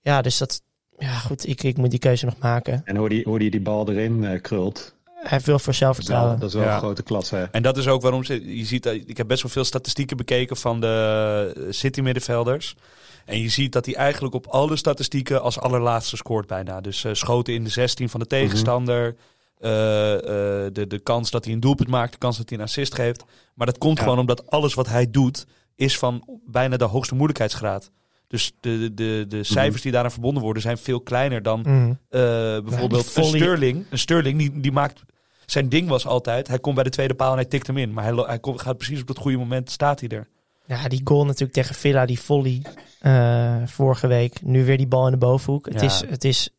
[SPEAKER 4] ja, dus dat... Ja, goed, ik, ik moet die keuze nog maken.
[SPEAKER 3] En hoe die, hoe die, die bal erin eh, krult,
[SPEAKER 4] Hij heeft
[SPEAKER 3] dat
[SPEAKER 4] veel voor
[SPEAKER 3] is wel,
[SPEAKER 4] zelfvertrouwen.
[SPEAKER 3] dat is wel
[SPEAKER 2] Ja.
[SPEAKER 3] een grote klasse. hè.
[SPEAKER 2] En dat is ook waarom ze, je ziet, dat- ik heb best wel veel statistieken bekeken van de eh, City middenvelders. En je ziet dat hij eigenlijk op alle statistieken als allerlaatste scoort bijna. Dus eh, schoten in de 16 van de tegenstander. eh, eh, de, de kans dat hij een doelpunt maakt, de kans dat hij een assist geeft. Maar dat komt
[SPEAKER 3] Ja.
[SPEAKER 2] gewoon omdat alles wat hij doet is van bijna de hoogste moeilijkheidsgraad. Dus de, de, de, de cijfers die daaraan verbonden worden zijn veel kleiner dan
[SPEAKER 4] Mm.
[SPEAKER 2] eh, bijvoorbeeld
[SPEAKER 4] die volley-
[SPEAKER 2] een Sterling. Een Sterling die, die maakt. Zijn ding was altijd. Hij komt bij de tweede paal en hij tikt hem in. Maar hij, lo- hij komt, gaat precies op het goede moment. Staat hij er.
[SPEAKER 4] Ja, die goal natuurlijk tegen Villa, die volley eh, vorige week. Nu weer die bal in de bovenhoek. Het
[SPEAKER 2] Ja.
[SPEAKER 4] is, het is,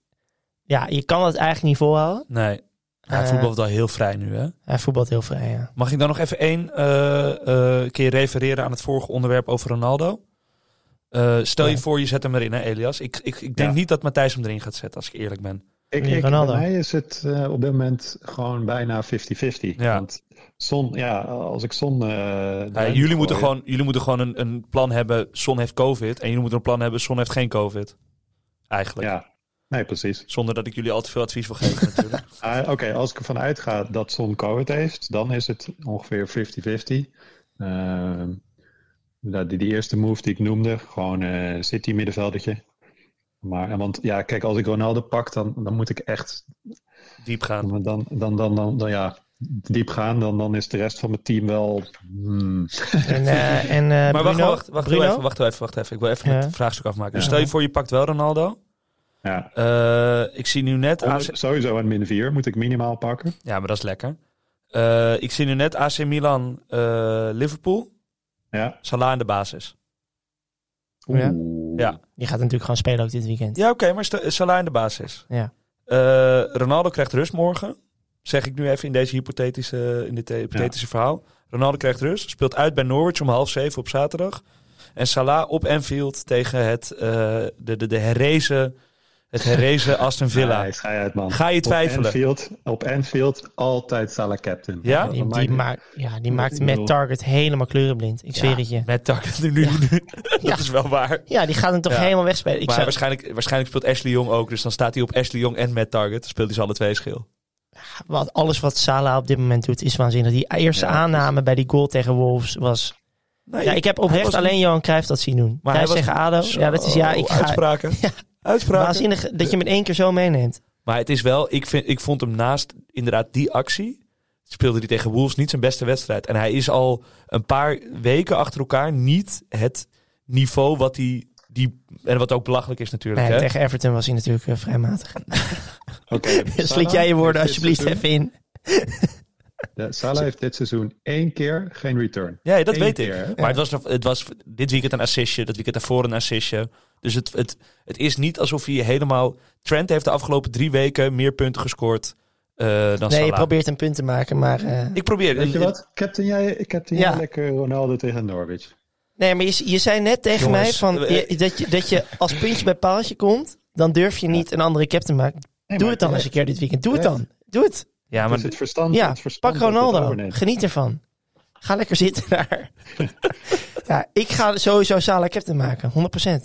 [SPEAKER 4] ja, je kan het eigenlijk niet volhouden.
[SPEAKER 2] Nee. Hij
[SPEAKER 4] Eh,
[SPEAKER 2] voetbalt wel heel vrij nu. Hè?
[SPEAKER 4] Hij voetbalt heel
[SPEAKER 2] [laughs]
[SPEAKER 4] vrij, ja.
[SPEAKER 2] Mag ik dan nog even één eh, eh, keer refereren aan het vorige onderwerp over Ronaldo? Eh, stel
[SPEAKER 4] Ja.
[SPEAKER 2] je voor, je zet hem erin, hè, Elias. Ik, ik, ik denk
[SPEAKER 3] Ja.
[SPEAKER 2] niet dat Matthijs hem erin gaat zetten, als ik eerlijk ben.
[SPEAKER 3] Ik,
[SPEAKER 4] Nee,
[SPEAKER 3] ik, bij
[SPEAKER 4] Ronaldo.
[SPEAKER 3] mij is het eh, op dit moment gewoon bijna 50-50.
[SPEAKER 2] Ja.
[SPEAKER 3] Want Son, ja, als ik Son... eh,
[SPEAKER 2] Ja,
[SPEAKER 3] eruit
[SPEAKER 2] jullie, moeten
[SPEAKER 3] gooi,
[SPEAKER 2] gewoon, jullie moeten gewoon een, een plan hebben. Son heeft COVID. En jullie moeten een plan hebben. Son heeft geen COVID. Eigenlijk.
[SPEAKER 3] Ja, Nee, precies.
[SPEAKER 2] Zonder dat ik jullie al te veel advies wil geven natuurlijk.
[SPEAKER 3] Ah, Oké, als ik ervan uitga dat Son COVID heeft, dan is het ongeveer 50-50. Ehm, nou, die, die eerste move die ik noemde, gewoon eh City middenveldertje. Maar, en want ja, kijk, als ik Ronaldo pak, dan, dan moet ik echt
[SPEAKER 2] Diep gaan.
[SPEAKER 3] dan, dan, dan, dan, dan, ja, diep gaan. Dan, dan is de rest van mijn team wel... hmm.
[SPEAKER 4] En, eh en, eh,
[SPEAKER 2] Maar wacht,
[SPEAKER 4] Bruno?
[SPEAKER 2] wacht, wacht,
[SPEAKER 4] Bruno?
[SPEAKER 2] Even, wacht even, wacht even. Ik wil even
[SPEAKER 4] Ja.
[SPEAKER 2] het vraagstuk afmaken. Dus
[SPEAKER 3] Ja.
[SPEAKER 2] stel je voor, je pakt wel Ronaldo.
[SPEAKER 3] ja.
[SPEAKER 2] Eh, ik zie nu net...
[SPEAKER 4] Oh,
[SPEAKER 3] Onder-
[SPEAKER 2] AC
[SPEAKER 3] Sowieso een min 4 moet ik minimaal pakken.
[SPEAKER 2] ja, maar dat is lekker. Eh, ik zie nu net AC Milan, eh, Liverpool.
[SPEAKER 3] Ja.
[SPEAKER 2] Salah in de basis.
[SPEAKER 4] Ja.
[SPEAKER 3] Oeh.
[SPEAKER 2] Ja.
[SPEAKER 4] Die gaat natuurlijk gewoon spelen ook dit weekend.
[SPEAKER 2] Ja, oké, maar st- Salah in de basis.
[SPEAKER 4] Ja.
[SPEAKER 2] Eh, Ronaldo krijgt rust morgen. Zeg ik nu even in deze hypothetische, in dit eh, hypothetische verhaal. Ronaldo krijgt rust. Speelt uit bij Norwich om half zeven op zaterdag. En Salah op Anfield tegen het, eh, de, de, de herrezen, het
[SPEAKER 3] [laughs]
[SPEAKER 2] herrezen Aston Villa.
[SPEAKER 3] Nee, schei uit, man.
[SPEAKER 2] Ga je
[SPEAKER 3] Op
[SPEAKER 2] twijfelen?
[SPEAKER 3] Anfield, op Anfield altijd Salah captain.
[SPEAKER 2] Ja?
[SPEAKER 3] Dat
[SPEAKER 4] Die,
[SPEAKER 3] maakt
[SPEAKER 4] die,
[SPEAKER 3] niet-
[SPEAKER 4] maakt, ja, die
[SPEAKER 3] Ik
[SPEAKER 4] maakt
[SPEAKER 3] bedoel-
[SPEAKER 4] met Target helemaal kleurenblind. Ik zweer het je.
[SPEAKER 2] Met tak. [laughs] Nu, nu, nu. Dat
[SPEAKER 4] [laughs] Ja.
[SPEAKER 2] is wel waar.
[SPEAKER 4] Ja, die gaat hem toch
[SPEAKER 2] Ja.
[SPEAKER 4] helemaal wegspelen. Ik
[SPEAKER 2] maar
[SPEAKER 4] zou,
[SPEAKER 2] waarschijnlijk, waarschijnlijk speelt Ashley Jong ook. Dus dan staat hij op Ashley Jong en met Target. Dan speelt hij ze alle twee schil.
[SPEAKER 4] wat, alles wat Salah op dit moment doet is waanzinnig. Die eerste
[SPEAKER 3] Ja,
[SPEAKER 4] aanname bij die goal tegen Wolves was...
[SPEAKER 2] Nee,
[SPEAKER 4] ja, ik heb oprecht
[SPEAKER 2] was-
[SPEAKER 4] alleen Johan Cruijff dat zien doen.
[SPEAKER 2] Maar
[SPEAKER 4] hij
[SPEAKER 2] hij was-
[SPEAKER 4] tegen ADO. Oh. ja, dat is... [laughs] Ja,
[SPEAKER 2] Zo,
[SPEAKER 4] ik ga,
[SPEAKER 2] Uitspraken. Uitspraken.
[SPEAKER 4] Waanzinnig dat je hem in één keer zo meeneemt.
[SPEAKER 2] Maar het is wel, ik, vind, ik vond hem naast inderdaad die actie. Speelde hij tegen Wolves niet zijn beste wedstrijd. En hij is al een paar weken achter elkaar niet het niveau wat hij. Die, en wat ook belachelijk is natuurlijk.
[SPEAKER 4] Nee,
[SPEAKER 2] hè?
[SPEAKER 4] tegen Everton was hij natuurlijk eh, vrij matig. Dus
[SPEAKER 3] Oké,
[SPEAKER 4] [laughs] Slik
[SPEAKER 3] Salah
[SPEAKER 4] jij je woorden
[SPEAKER 3] heeft dit
[SPEAKER 4] alsjeblieft
[SPEAKER 3] seizoen-
[SPEAKER 4] even in.
[SPEAKER 3] Ja, Salah heeft dit seizoen één keer geen return.
[SPEAKER 2] Ja, dat
[SPEAKER 3] Eén
[SPEAKER 2] weet ik.
[SPEAKER 3] keer, hè?
[SPEAKER 2] Maar het, was, nog- het was dit weekend een assistje, dat weekend daarvoor een assistje. Dus het, het, het is niet alsof hij helemaal... Trent heeft de afgelopen drie weken meer punten gescoord eh, dan
[SPEAKER 4] Nee, je
[SPEAKER 2] Salah.
[SPEAKER 4] probeert een punt te maken, maar... eh,
[SPEAKER 2] Ik probeer.
[SPEAKER 3] Weet je wat? Captain jij, captain
[SPEAKER 4] Ja.
[SPEAKER 3] jij lekker Ronaldo tegen Norwich.
[SPEAKER 4] Nee, maar je, je zei net tegen
[SPEAKER 2] Jongens,
[SPEAKER 4] mij van,
[SPEAKER 2] eh,
[SPEAKER 4] je- dat, je, dat je als puntje bij paaltje komt, dan durf je niet een andere cap te maken. Doe het dan eens een keer dit weekend. Doe het
[SPEAKER 3] Terecht.
[SPEAKER 4] dan. Doe het.
[SPEAKER 2] Ja,
[SPEAKER 3] Het
[SPEAKER 2] maar
[SPEAKER 3] is het verstand.
[SPEAKER 4] Ja,
[SPEAKER 3] het verstand
[SPEAKER 4] pak
[SPEAKER 3] dat het
[SPEAKER 4] Ronaldo.
[SPEAKER 3] overneemt.
[SPEAKER 4] Geniet ervan. Ga lekker zitten [laughs] daar. ja, ik ga sowieso Salah captain maken. 100%.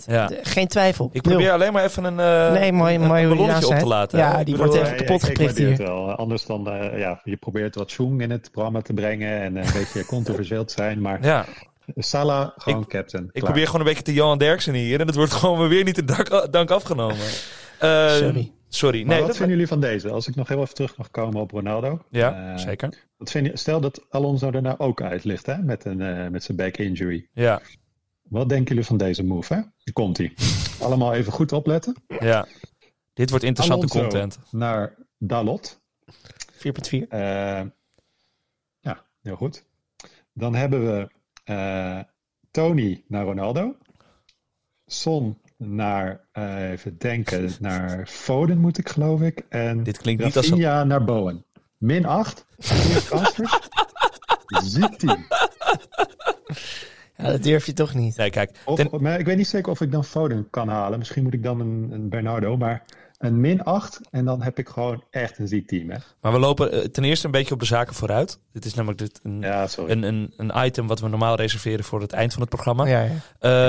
[SPEAKER 2] Ja.
[SPEAKER 4] De- Geen twijfel.
[SPEAKER 2] ik
[SPEAKER 4] Nul.
[SPEAKER 2] probeer alleen maar even een, eh,
[SPEAKER 4] Nee, mooi,
[SPEAKER 2] een- een
[SPEAKER 4] mooi hoe je
[SPEAKER 2] ballonnetje op
[SPEAKER 4] daar
[SPEAKER 2] te
[SPEAKER 4] zei.
[SPEAKER 2] laten.
[SPEAKER 4] Ja,
[SPEAKER 2] hè? Ik
[SPEAKER 4] die
[SPEAKER 2] bedoel,
[SPEAKER 4] wordt
[SPEAKER 2] eh,
[SPEAKER 4] even-
[SPEAKER 3] Ja,
[SPEAKER 4] kapot
[SPEAKER 3] ik- ik
[SPEAKER 4] geprikt
[SPEAKER 3] waardeer het wel. Anders dan, eh, ja, je probeert wat schoen in het programma te brengen en een beetje controversieel te zijn. Maar
[SPEAKER 2] Ja,
[SPEAKER 3] Salah, gewoon captain.
[SPEAKER 2] ik
[SPEAKER 3] Klaar.
[SPEAKER 2] probeer gewoon een beetje te Johan Derksen hier. En het wordt gewoon weer niet de dank, dank afgenomen. Eh,
[SPEAKER 4] [laughs] Sorry.
[SPEAKER 2] Sorry.
[SPEAKER 3] Maar
[SPEAKER 2] Nee,
[SPEAKER 3] wat
[SPEAKER 2] dat-
[SPEAKER 3] vinden jullie van deze? Als ik nog heel even terug mag komen op Ronaldo.
[SPEAKER 2] Ja,
[SPEAKER 3] Eh,
[SPEAKER 2] zeker.
[SPEAKER 3] Wat vind je, stel dat Alonso er nou ook uit ligt hè, met, een, eh, met zijn back injury.
[SPEAKER 2] Ja,
[SPEAKER 3] Wat denken jullie van deze move? Hè? Hier komt hij. Allemaal even goed opletten.
[SPEAKER 2] ja. Dit wordt interessante
[SPEAKER 3] Alonso
[SPEAKER 2] content.
[SPEAKER 3] Naar Dalot.
[SPEAKER 4] 4.4.
[SPEAKER 3] Eh, ja, heel goed. Dan hebben we eh, Tony naar Ronaldo. Son naar, eh, even denken, naar Foden moet ik geloof ik. En
[SPEAKER 2] Dit klinkt niet als...
[SPEAKER 3] Rafinha naar Bowen. Min 8.
[SPEAKER 2] [laughs]
[SPEAKER 3] transfers. Ziek team.
[SPEAKER 4] Ja, dat durf je toch niet.
[SPEAKER 2] Nee, kijk.
[SPEAKER 3] Of,
[SPEAKER 2] ten-
[SPEAKER 3] maar ik weet niet zeker of ik dan Foden kan halen. Misschien moet ik dan een, een Bernardo. Maar een min 8 en dan heb ik gewoon echt een ziek team. Hè?
[SPEAKER 2] Maar we lopen eh, ten eerste een beetje op de zaken vooruit. Dit is namelijk dit een,
[SPEAKER 3] Ja, sorry.
[SPEAKER 2] een, een, een item wat we normaal reserveren voor het eind van het programma.
[SPEAKER 4] Oh, Ja, ja.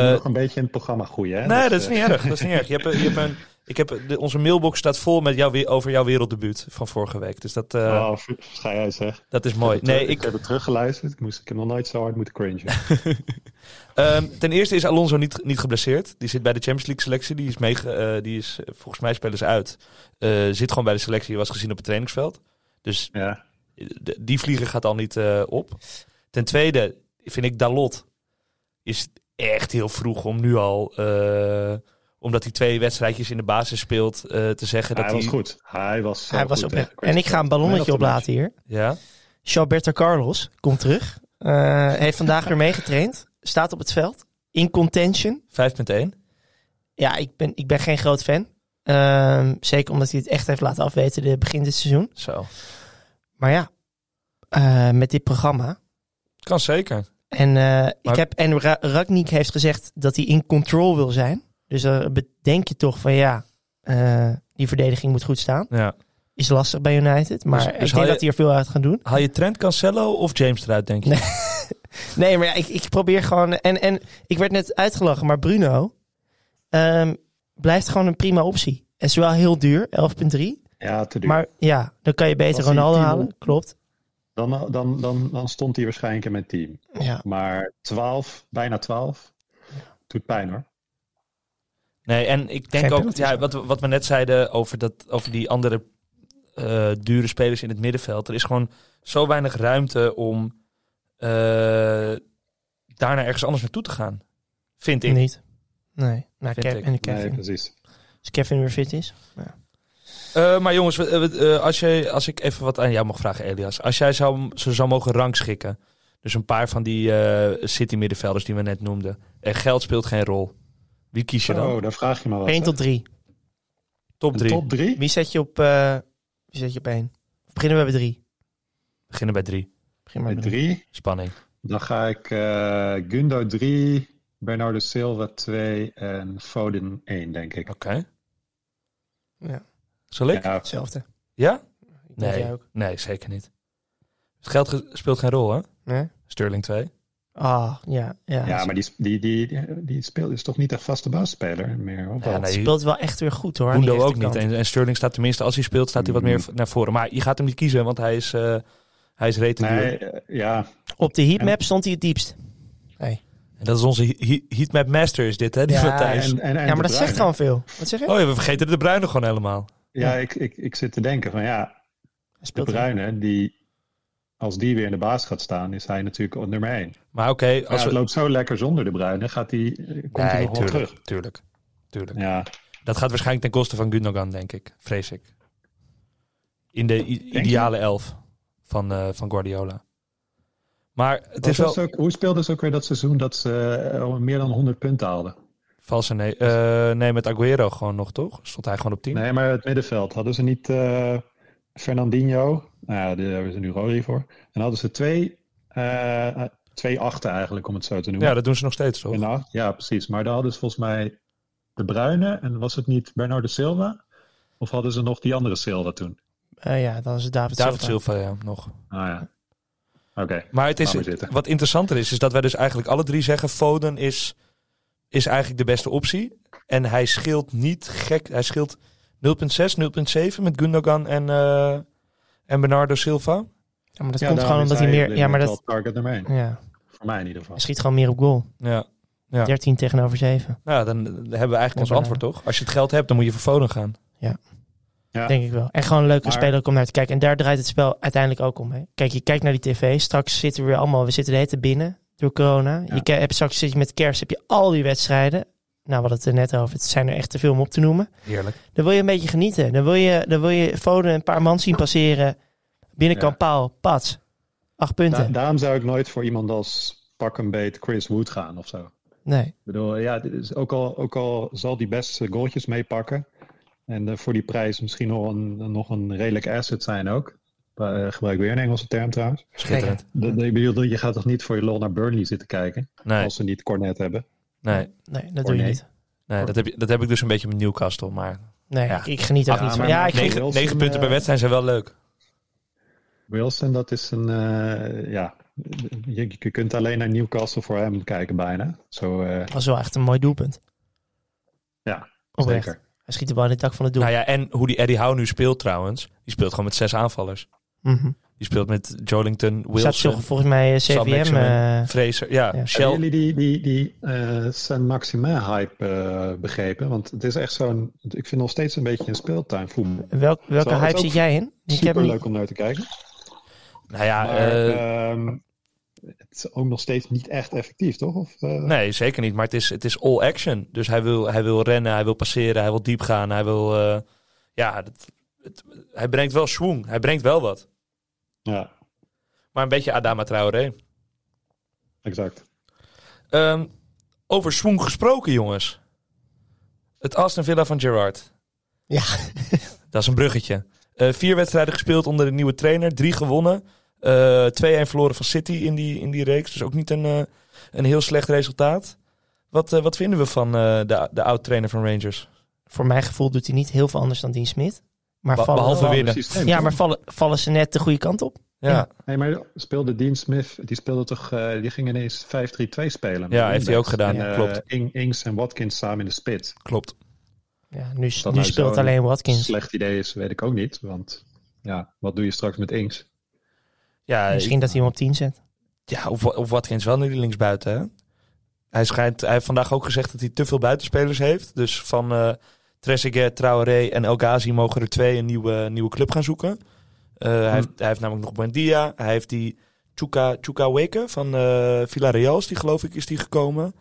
[SPEAKER 2] Eh,
[SPEAKER 3] nog een beetje in het programma groeien. Hè?
[SPEAKER 2] nee,
[SPEAKER 3] Dus,
[SPEAKER 2] dat is
[SPEAKER 3] eh,
[SPEAKER 2] niet erg. Dat is niet erg. Je hebt, een- je hebt een, ik heb, eh, de, onze mailbox staat vol met jou, over jouw werelddebuut van vorige week. Dus dat, eh,
[SPEAKER 3] Oh, [laughs] v- schei uit zeg.
[SPEAKER 2] dat is mooi.
[SPEAKER 3] heb het
[SPEAKER 2] Nee,
[SPEAKER 3] [laughs] terug-
[SPEAKER 2] ik,
[SPEAKER 3] heb het teruggeluisterd. Ik, moest, ik heb nog nooit zo hard moeten
[SPEAKER 4] [laughs]
[SPEAKER 3] cringen.
[SPEAKER 2] Ehm, ten eerste is Alonso niet, niet geblesseerd. Die zit bij de Champions League selectie. Die is, mee, die is eh, volgens mij spelen ze uit. Eh, zit gewoon bij de selectie. Die was gezien op het trainingsveld. Dus
[SPEAKER 3] ja.
[SPEAKER 2] eh, de- die vlieger gaat al niet eh, op. Ten tweede vind ik Dalot is echt heel vroeg om nu al, eh, omdat hij twee wedstrijdjes in de basis speelt, eh, te zeggen
[SPEAKER 3] Hij
[SPEAKER 2] dat
[SPEAKER 3] was goed. Hij was zo
[SPEAKER 4] Hij was
[SPEAKER 3] goed
[SPEAKER 4] op
[SPEAKER 3] tegen
[SPEAKER 4] En ik ga een
[SPEAKER 3] Crystal.
[SPEAKER 4] ballonnetje
[SPEAKER 3] Man of the
[SPEAKER 4] oplaten hier.
[SPEAKER 2] Ja,
[SPEAKER 4] Gilberto Carlos komt terug. Eh, heeft vandaag
[SPEAKER 2] [laughs]
[SPEAKER 4] weer meegetraind. Staat op het veld. In contention.
[SPEAKER 2] 5.1.
[SPEAKER 4] Ja, ik ben, ik ben geen groot fan. Ehm, zeker omdat hij het echt heeft laten afweten de begin dit seizoen.
[SPEAKER 2] Zo.
[SPEAKER 4] Maar ja, eh, met dit programma.
[SPEAKER 2] Kan zeker.
[SPEAKER 4] En, eh,
[SPEAKER 2] Maar-
[SPEAKER 4] ik heb, en Ra- Ragnik heeft gezegd dat hij in control wil zijn. Dus dan bedenk je toch van ja, eh, die verdediging moet goed staan.
[SPEAKER 2] Ja.
[SPEAKER 4] Is lastig bij United, maar
[SPEAKER 2] Dus- dus
[SPEAKER 4] ik denk
[SPEAKER 2] haal je-
[SPEAKER 4] dat hij er veel uit gaat doen.
[SPEAKER 2] Haal je Trent Cancelo of James eruit, denk je?
[SPEAKER 4] Nee. Nee, maar ja, ik, ik probeer gewoon. En, en ik werd net uitgelachen, maar Bruno ehm, blijft gewoon een prima optie. is wel heel duur, 11,3.
[SPEAKER 3] Ja, te duur.
[SPEAKER 4] Maar ja, dan kan je beter
[SPEAKER 3] Als hij
[SPEAKER 4] Ronaldo
[SPEAKER 3] 10
[SPEAKER 4] halen.
[SPEAKER 3] miljoen-
[SPEAKER 4] Klopt.
[SPEAKER 3] Dan, eh, dan, dan, dan stond hij waarschijnlijk in mijn team.
[SPEAKER 4] Ja.
[SPEAKER 3] Maar 12, bijna 12, doet pijn hoor.
[SPEAKER 2] Nee, en ik denk
[SPEAKER 4] Geen
[SPEAKER 2] ook,
[SPEAKER 4] penalties.
[SPEAKER 2] ja, wat, we- wat we net zeiden over, dat, over die andere eh, dure spelers in het middenveld. Er is gewoon zo weinig ruimte om eh, daarna ergens anders naartoe te gaan. Vind ik.
[SPEAKER 4] Niet. Nee. Nou,
[SPEAKER 2] Vind
[SPEAKER 4] Kev-
[SPEAKER 2] ik.
[SPEAKER 4] en
[SPEAKER 3] Nee,
[SPEAKER 4] Kevin.
[SPEAKER 3] precies.
[SPEAKER 4] Als Kevin weer fit is.
[SPEAKER 2] Eh, maar jongens, we- eh, we- eh, als, jij, als ik even wat aan jou mag vragen, Elias. Als jij zou, ze zou mogen rangschikken. Dus een paar van die eh, City-middenvelders die we net noemden. En geld speelt geen rol. Wie kies je dan?
[SPEAKER 3] Oh, daar vraag je me wat.
[SPEAKER 4] 1
[SPEAKER 3] hè?
[SPEAKER 4] tot 3.
[SPEAKER 2] top
[SPEAKER 3] Een
[SPEAKER 2] 3.
[SPEAKER 3] Top 3?
[SPEAKER 4] Wie zet je op, eh wie zet je op 1? Beginnen we bij 3.
[SPEAKER 2] Beginnen bij 3.
[SPEAKER 4] Begin maar
[SPEAKER 3] Bij
[SPEAKER 4] bij 3.
[SPEAKER 3] 3.
[SPEAKER 2] Spanning.
[SPEAKER 3] Dan ga ik eh, Gundo 3, Bernardo Silva 2 en Foden 1, denk ik.
[SPEAKER 2] Oké.
[SPEAKER 4] Ja.
[SPEAKER 2] Zal ik?
[SPEAKER 3] Ja,
[SPEAKER 4] Hetzelfde.
[SPEAKER 2] ja?
[SPEAKER 4] Ik denk jij
[SPEAKER 2] Nee,
[SPEAKER 4] ook.
[SPEAKER 2] nee, zeker niet. Het geld ge- speelt geen rol, hè?
[SPEAKER 4] Nee?
[SPEAKER 2] Sterling 2.
[SPEAKER 4] Ah, ja. Ja.
[SPEAKER 3] ja maar die, die, die, die speelt is toch niet echt vaste basisspeler meer? Of
[SPEAKER 2] Ja,
[SPEAKER 3] wel?
[SPEAKER 2] nee,
[SPEAKER 4] Speelt wel echt weer goed hoor. aan die
[SPEAKER 2] Gundo ook niet.
[SPEAKER 4] rechterkant.
[SPEAKER 2] En, en Sterling staat tenminste, als hij speelt, staat hij wat meer v- naar voren. Maar je gaat hem niet kiezen, want hij is, eh hij is rete duur.
[SPEAKER 3] Nee, eh, ja,
[SPEAKER 4] Op de heatmap stond hij het diepst.
[SPEAKER 2] En dat is onze he- he- heatmap master, is dit, hè? Die
[SPEAKER 4] Ja,
[SPEAKER 2] Matthijs.
[SPEAKER 3] en, en, en
[SPEAKER 4] Ja, maar
[SPEAKER 3] De
[SPEAKER 4] dat zegt
[SPEAKER 3] Bruyne.
[SPEAKER 4] gewoon veel. Wat zeg je?
[SPEAKER 2] Oh ja, we vergeten de bruine gewoon helemaal.
[SPEAKER 3] Ja, ik, ik, ik zit te denken van ja,
[SPEAKER 4] Hij
[SPEAKER 3] de
[SPEAKER 4] speelt
[SPEAKER 3] Bruyne, die, als die weer in de baas gaat staan, is hij natuurlijk op nummer 1.
[SPEAKER 2] Maar oké,
[SPEAKER 3] Als
[SPEAKER 2] als
[SPEAKER 3] het
[SPEAKER 2] we...
[SPEAKER 3] loopt zo lekker zonder de Bruyne, gaat die, eh, komt hij
[SPEAKER 2] Nee,
[SPEAKER 3] nog wel
[SPEAKER 2] tuurlijk,
[SPEAKER 3] terug.
[SPEAKER 2] tuurlijk, tuurlijk.
[SPEAKER 3] Ja,
[SPEAKER 2] Dat gaat waarschijnlijk ten koste van Gundogan, denk ik. Vrees ik. In de i-
[SPEAKER 3] je?
[SPEAKER 2] ideale elf van, eh, van Guardiola. Maar het
[SPEAKER 3] Was
[SPEAKER 2] is wel...
[SPEAKER 3] dat ook, hoe speelde ze ook weer dat seizoen dat ze eh, al meer dan 100 punten haalden?
[SPEAKER 2] Valse nee. Eh, nee, met Aguero gewoon nog, toch? Stond hij gewoon op 10?
[SPEAKER 3] Nee, maar het middenveld. Hadden ze niet eh, Fernandinho? Nou ja, daar hebben ze nu Rodri voor. En hadden ze twee, eh, twee achten eigenlijk, om het zo te noemen.
[SPEAKER 2] Ja, dat doen ze nog steeds, toch?
[SPEAKER 3] En acht, ja, precies. Maar daar hadden ze volgens mij de Bruyne. En was het niet Bernardo Silva? Of hadden ze nog die andere Silva toen?
[SPEAKER 4] goed. Eh, ja, dan is het David,
[SPEAKER 2] David
[SPEAKER 4] Silva.
[SPEAKER 2] Silva, ja, nog.
[SPEAKER 3] Ah ja. Oké.
[SPEAKER 2] Maar het is,
[SPEAKER 3] Laat maar zitten.
[SPEAKER 2] wat interessanter is, is dat wij dus eigenlijk alle drie zeggen... Foden is, is eigenlijk de beste optie. En hij scheelt niet gek. Hij scheelt 0,6, 0,7 met Gundogan en, eh, en Bernardo Silva.
[SPEAKER 4] Ja, maar dat
[SPEAKER 3] Ja,
[SPEAKER 4] komt
[SPEAKER 3] daarom
[SPEAKER 4] gewoon
[SPEAKER 3] is
[SPEAKER 4] omdat hij meer...
[SPEAKER 3] op dit
[SPEAKER 4] Ja, maar
[SPEAKER 3] moment
[SPEAKER 4] dat,
[SPEAKER 3] wel target nummer één.
[SPEAKER 4] ja,
[SPEAKER 3] Voor mij in ieder geval.
[SPEAKER 4] hij schiet gewoon meer op goal.
[SPEAKER 2] Ja. Ja.
[SPEAKER 4] 13 tegenover 7,
[SPEAKER 2] Nou, dan eh, hebben we eigenlijk ons
[SPEAKER 4] Bernardo.
[SPEAKER 2] antwoord, toch? Als je het geld hebt, dan moet je voor Foden gaan.
[SPEAKER 3] Ja.
[SPEAKER 4] denk ik wel. En gewoon een leuke
[SPEAKER 3] Maar-
[SPEAKER 4] speler om naar te kijken. En daar draait het spel uiteindelijk ook om. Hè. Kijk, je kijkt naar die tv. Straks zitten we weer allemaal... We zitten de hele tijd binnen door corona. Je ke- hebt, straks zit je met kerst, heb je al die wedstrijden. Nou, we hadden het er net over. Het zijn er echt te veel om op te noemen.
[SPEAKER 2] Heerlijk.
[SPEAKER 4] Dan wil je een beetje genieten. Dan wil je, dan wil je Foden een paar man zien passeren. Binnenkant
[SPEAKER 3] Ja.
[SPEAKER 4] paal, pats. Acht punten.
[SPEAKER 3] Da- daarom zou ik nooit voor iemand als pak een beet Chris Wood gaan of zo.
[SPEAKER 4] nee.
[SPEAKER 3] Ik bedoel, ja, dit is ook, al, ook al zal die best goaltjes meepakken. En eh, voor die prijs misschien nog een, nog een redelijk asset zijn ook. Eh, gebruik weer een Engelse term trouwens.
[SPEAKER 2] Schitterend.
[SPEAKER 3] De- de- ik bedoel, je gaat toch niet voor je lol naar Burnley zitten kijken.
[SPEAKER 2] Nee,
[SPEAKER 3] Als ze niet cornet hebben.
[SPEAKER 2] nee,
[SPEAKER 4] Nee,
[SPEAKER 3] Or
[SPEAKER 4] dat doe je
[SPEAKER 3] nee.
[SPEAKER 4] niet.
[SPEAKER 2] nee dat, heb, je- dat heb ik dus een beetje met Newcastle. Maar
[SPEAKER 4] Nee,
[SPEAKER 2] Ja.
[SPEAKER 4] ik, ik geniet er ook
[SPEAKER 3] Ja,
[SPEAKER 4] niet van.
[SPEAKER 3] maar-
[SPEAKER 4] Ja, ik
[SPEAKER 3] Nee.
[SPEAKER 4] geniet-
[SPEAKER 2] negen,
[SPEAKER 3] Wilson,
[SPEAKER 2] negen punten
[SPEAKER 3] eh,
[SPEAKER 2] per wedstrijd zijn wel leuk.
[SPEAKER 3] Wilson, dat is een. eh, ja, je, je kunt alleen naar Newcastle voor hem kijken bijna. Zo, eh,
[SPEAKER 4] was wel echt een mooi doelpunt.
[SPEAKER 3] ja,
[SPEAKER 4] Oprecht.
[SPEAKER 3] zeker.
[SPEAKER 4] Hij schiet de bal in het dak van het doel.
[SPEAKER 2] Nou ja, en hoe die Eddie Howe nu speelt trouwens. Die speelt gewoon met zes aanvallers.
[SPEAKER 4] Mhm.
[SPEAKER 2] Die speelt met Jolington,
[SPEAKER 4] Staat
[SPEAKER 2] Wilson,
[SPEAKER 4] toch volgens mij eh,
[SPEAKER 2] Sam
[SPEAKER 4] CVM.
[SPEAKER 2] Maximin.
[SPEAKER 4] eh,
[SPEAKER 2] Fraser. Ja,
[SPEAKER 4] Ja.
[SPEAKER 2] Shell.
[SPEAKER 3] Hebben jullie die, die, die eh, Saint-Maximin-hype eh, begrepen? Want het is echt zo'n... Ik vind het nog steeds een beetje een speeltuin voetbal.
[SPEAKER 4] welk, welke
[SPEAKER 3] Zo, het
[SPEAKER 4] hype
[SPEAKER 3] is
[SPEAKER 4] zit
[SPEAKER 3] ook
[SPEAKER 4] jij in? Ik heb hem niet-
[SPEAKER 3] Superleuk om naar te kijken.
[SPEAKER 2] Nou ja,
[SPEAKER 3] maar
[SPEAKER 2] eh,
[SPEAKER 3] ehm, het is ook nog steeds niet echt effectief, toch? Of, eh,
[SPEAKER 2] nee, zeker niet. Maar het is, het is all action. Dus hij wil, hij wil rennen, hij wil passeren, hij wil diep gaan. Hij wil... eh, ja, dat- het, hij brengt wel swing. Hij brengt wel wat.
[SPEAKER 3] Ja,
[SPEAKER 2] Maar een beetje Adama Traoré.
[SPEAKER 3] exact.
[SPEAKER 2] Ehm, over swing gesproken, jongens. Het Aston Villa van Gerard.
[SPEAKER 4] Ja.
[SPEAKER 2] [laughs] Dat is een bruggetje. Eh, vier wedstrijden gespeeld onder de nieuwe trainer. Drie gewonnen. Eh 2-1 verloren van City in die, in die reeks. Dus ook niet een, eh, een heel slecht resultaat. Wat, eh, wat vinden we van eh, de, de oud-trainer van Rangers?
[SPEAKER 4] Voor mijn gevoel doet hij niet heel veel anders dan Dean Smit. Maar
[SPEAKER 2] Be-
[SPEAKER 4] vallen,
[SPEAKER 2] behalve
[SPEAKER 3] Wel
[SPEAKER 2] winnen.
[SPEAKER 3] een systeem,
[SPEAKER 4] ja,
[SPEAKER 3] toch?
[SPEAKER 4] maar vallen, vallen ze net de goede kant op?
[SPEAKER 2] Ja,
[SPEAKER 4] Ja.
[SPEAKER 2] ja,
[SPEAKER 3] Nee, maar speelde Dean Smith... Die speelde toch... eh, die ging ineens 5-3-2 spelen.
[SPEAKER 2] heeft
[SPEAKER 3] met
[SPEAKER 2] hij
[SPEAKER 3] wingbacks.
[SPEAKER 2] ook gedaan.
[SPEAKER 3] En,
[SPEAKER 2] ja,
[SPEAKER 3] eh,
[SPEAKER 2] klopt,
[SPEAKER 3] Ing- Ings en Watkins samen in de spits.
[SPEAKER 2] klopt.
[SPEAKER 4] Ja, nu
[SPEAKER 3] dat
[SPEAKER 4] nu
[SPEAKER 3] nou
[SPEAKER 4] speelt
[SPEAKER 3] zo'n
[SPEAKER 4] alleen Watkins.
[SPEAKER 3] slecht idee is, weet ik ook niet. Want ja, wat doe je straks met Inks?
[SPEAKER 2] Ja,
[SPEAKER 4] Misschien dat hij hem op 10 zet.
[SPEAKER 2] Ja, of, of Watkins wel nu die linksbuiten. Hè? Hij, schijnt, hij heeft vandaag ook gezegd dat hij te veel buitenspelers heeft. Dus van eh Trezeguet, Traoré en El Ghazi mogen er twee een nieuwe, nieuwe club gaan zoeken. Eh, hij,
[SPEAKER 4] Hm.
[SPEAKER 2] heeft, hij heeft namelijk nog Buendia. Hij heeft die Chuka, Chuka Weke van eh Villarreal, is die geloof ik, is die gekomen.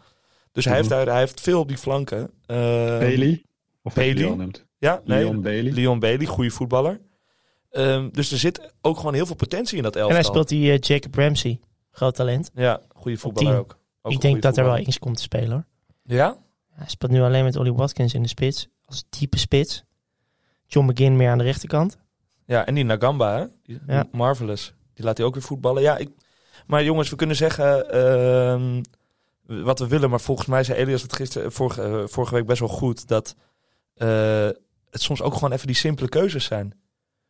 [SPEAKER 2] Dus hij,
[SPEAKER 3] Mhm.
[SPEAKER 2] heeft,
[SPEAKER 4] Hm.
[SPEAKER 2] daar, hij heeft veel op die flanken. Eh,
[SPEAKER 3] Bailey? Of
[SPEAKER 2] Bailey?
[SPEAKER 3] Ehm, Bailey? noemt.
[SPEAKER 2] Ja, nee,
[SPEAKER 3] Leon Bailey.
[SPEAKER 2] Leon Bailey, goede voetballer. Ehm, dus er zit ook gewoon heel veel potentie in dat elftal.
[SPEAKER 4] En hij speelt die eh, Jacob Ramsey. Groot talent.
[SPEAKER 2] Ja, goede voetballer
[SPEAKER 4] tien.
[SPEAKER 2] ook. Ook een
[SPEAKER 4] ik denk
[SPEAKER 2] goede
[SPEAKER 4] dat er wel
[SPEAKER 2] voetballer.
[SPEAKER 4] eens komt te spelen hoor.
[SPEAKER 2] Ja?
[SPEAKER 4] Hij speelt nu alleen met Ollie Watkins in de spits. Als diepe spits. John McGinn meer aan de rechterkant.
[SPEAKER 2] Ja, en die Nagamba, hè? Die- die
[SPEAKER 4] Ja.
[SPEAKER 2] Marvelous. Die laat hij ook weer voetballen. Ja, ik... Maar jongens, we kunnen zeggen ehm, wat we willen. Maar volgens mij zei Elias het gisteren, vorige, eh, vorige week best wel goed. Dat eh, het soms ook gewoon even die simpele keuzes zijn.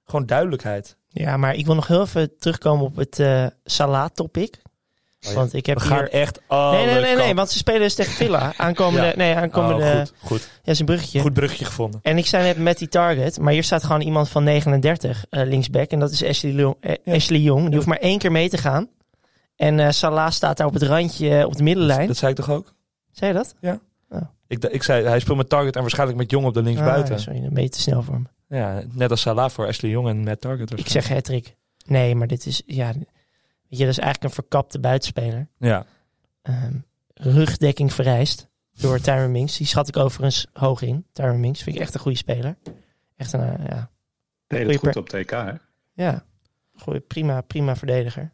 [SPEAKER 2] Gewoon duidelijkheid.
[SPEAKER 4] Ja, maar ik wil nog heel even terugkomen op het eh Salah-topic.
[SPEAKER 2] ja.
[SPEAKER 4] Want ik heb
[SPEAKER 2] we gaan
[SPEAKER 4] hier...
[SPEAKER 2] echt alle
[SPEAKER 4] Nee, nee, nee, nee,
[SPEAKER 2] kanten-
[SPEAKER 4] want ze spelen dus tegen
[SPEAKER 2] [laughs]
[SPEAKER 4] Villa. Aankomende,
[SPEAKER 2] Ja.
[SPEAKER 4] nee, aankomende,
[SPEAKER 2] Oh,
[SPEAKER 4] ja,
[SPEAKER 2] goed, goed.
[SPEAKER 4] is een bruggetje.
[SPEAKER 2] goed bruggetje gevonden.
[SPEAKER 4] En ik zei net met die target, maar hier staat gewoon iemand van 39 eh, linksback. En dat is Ashley, Leon- eh,
[SPEAKER 2] Ja.
[SPEAKER 4] Ashley Jong. Die hoeft maar één keer mee te gaan. En eh, Salah staat daar op het randje eh, op de middenlijn.
[SPEAKER 2] Dat zei ik toch ook?
[SPEAKER 4] Zei je dat?
[SPEAKER 2] Ik, d- ik zei, hij speelt met Target en waarschijnlijk met Jong op de linksbuiten.
[SPEAKER 4] Ah, sorry, dan ben je te snel voor me.
[SPEAKER 2] ja, net als Salah voor Ashley Jong en met Target.
[SPEAKER 4] Ik
[SPEAKER 2] waarschijnlijk.
[SPEAKER 4] zeg Hattrick. Nee, maar dit is, ja, weet je, dat is eigenlijk een verkapte buitenspeler.
[SPEAKER 2] Ja,
[SPEAKER 4] Ehm, rugdekking vereist door Tyron Minks. Die schat ik overigens hoog in. Tyron Minks vind ik echt een goede speler. Echt een, eh, ja,
[SPEAKER 3] Deed
[SPEAKER 4] Goeie
[SPEAKER 3] het goed
[SPEAKER 4] per-
[SPEAKER 3] op TK, hè?
[SPEAKER 4] Ja, Goeie, prima, prima verdediger.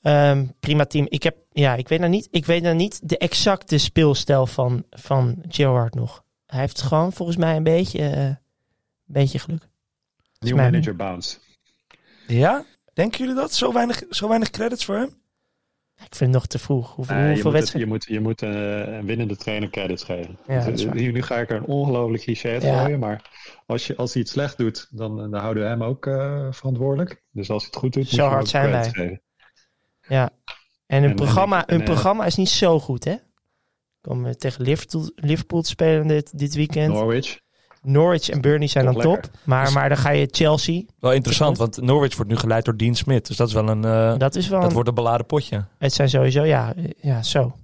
[SPEAKER 4] Ehm, prima team. Ik, heb, ja, ik, weet nou niet, ik weet nou niet de exacte speelstijl van, van Gerrard nog. Hij heeft gewoon volgens mij een beetje, eh, een beetje geluk.
[SPEAKER 3] Nieuw
[SPEAKER 4] mij
[SPEAKER 3] manager bounce.
[SPEAKER 2] ja? denken jullie dat? Zo weinig, zo weinig credits voor hem?
[SPEAKER 4] Ik vind het nog te vroeg. Hoeveel,
[SPEAKER 3] Nee, je,
[SPEAKER 4] hoeveel
[SPEAKER 3] moet het- je
[SPEAKER 4] wedstrijden?
[SPEAKER 3] moet, je moet eh, een winnende trainer credits geven.
[SPEAKER 4] Ja, dat is
[SPEAKER 3] Dus,
[SPEAKER 4] waar.
[SPEAKER 3] nu, nu ga ik er een ongelooflijk cliché uit
[SPEAKER 4] Ja.
[SPEAKER 3] gooien, maar als, je, als hij het slecht doet, dan, dan houden we hem ook eh, verantwoordelijk. Dus als hij het goed doet,
[SPEAKER 4] Zo
[SPEAKER 3] moet je hem
[SPEAKER 4] hard
[SPEAKER 3] ook
[SPEAKER 4] zijn
[SPEAKER 3] credits geven.
[SPEAKER 4] En hun
[SPEAKER 3] en-
[SPEAKER 4] programma,
[SPEAKER 3] en- en-
[SPEAKER 4] hun programma is niet zo goed, hè? Komen we tegen Liverpool, Liverpool te spelen dit, dit weekend.
[SPEAKER 3] Norwich.
[SPEAKER 4] Norwich en Burnley zijn dan
[SPEAKER 3] Toch
[SPEAKER 4] top.
[SPEAKER 3] lekker.
[SPEAKER 2] Dus-
[SPEAKER 4] Maar, maar dan ga je Chelsea.
[SPEAKER 2] Wel interessant, want Norwich wordt nu geleid door Dean Smit. Dus dat is wel een. eh,
[SPEAKER 4] Dat is wel
[SPEAKER 2] dat
[SPEAKER 4] een
[SPEAKER 2] wordt een beladen potje.
[SPEAKER 4] Het zijn sowieso, ja, eh, ja zo.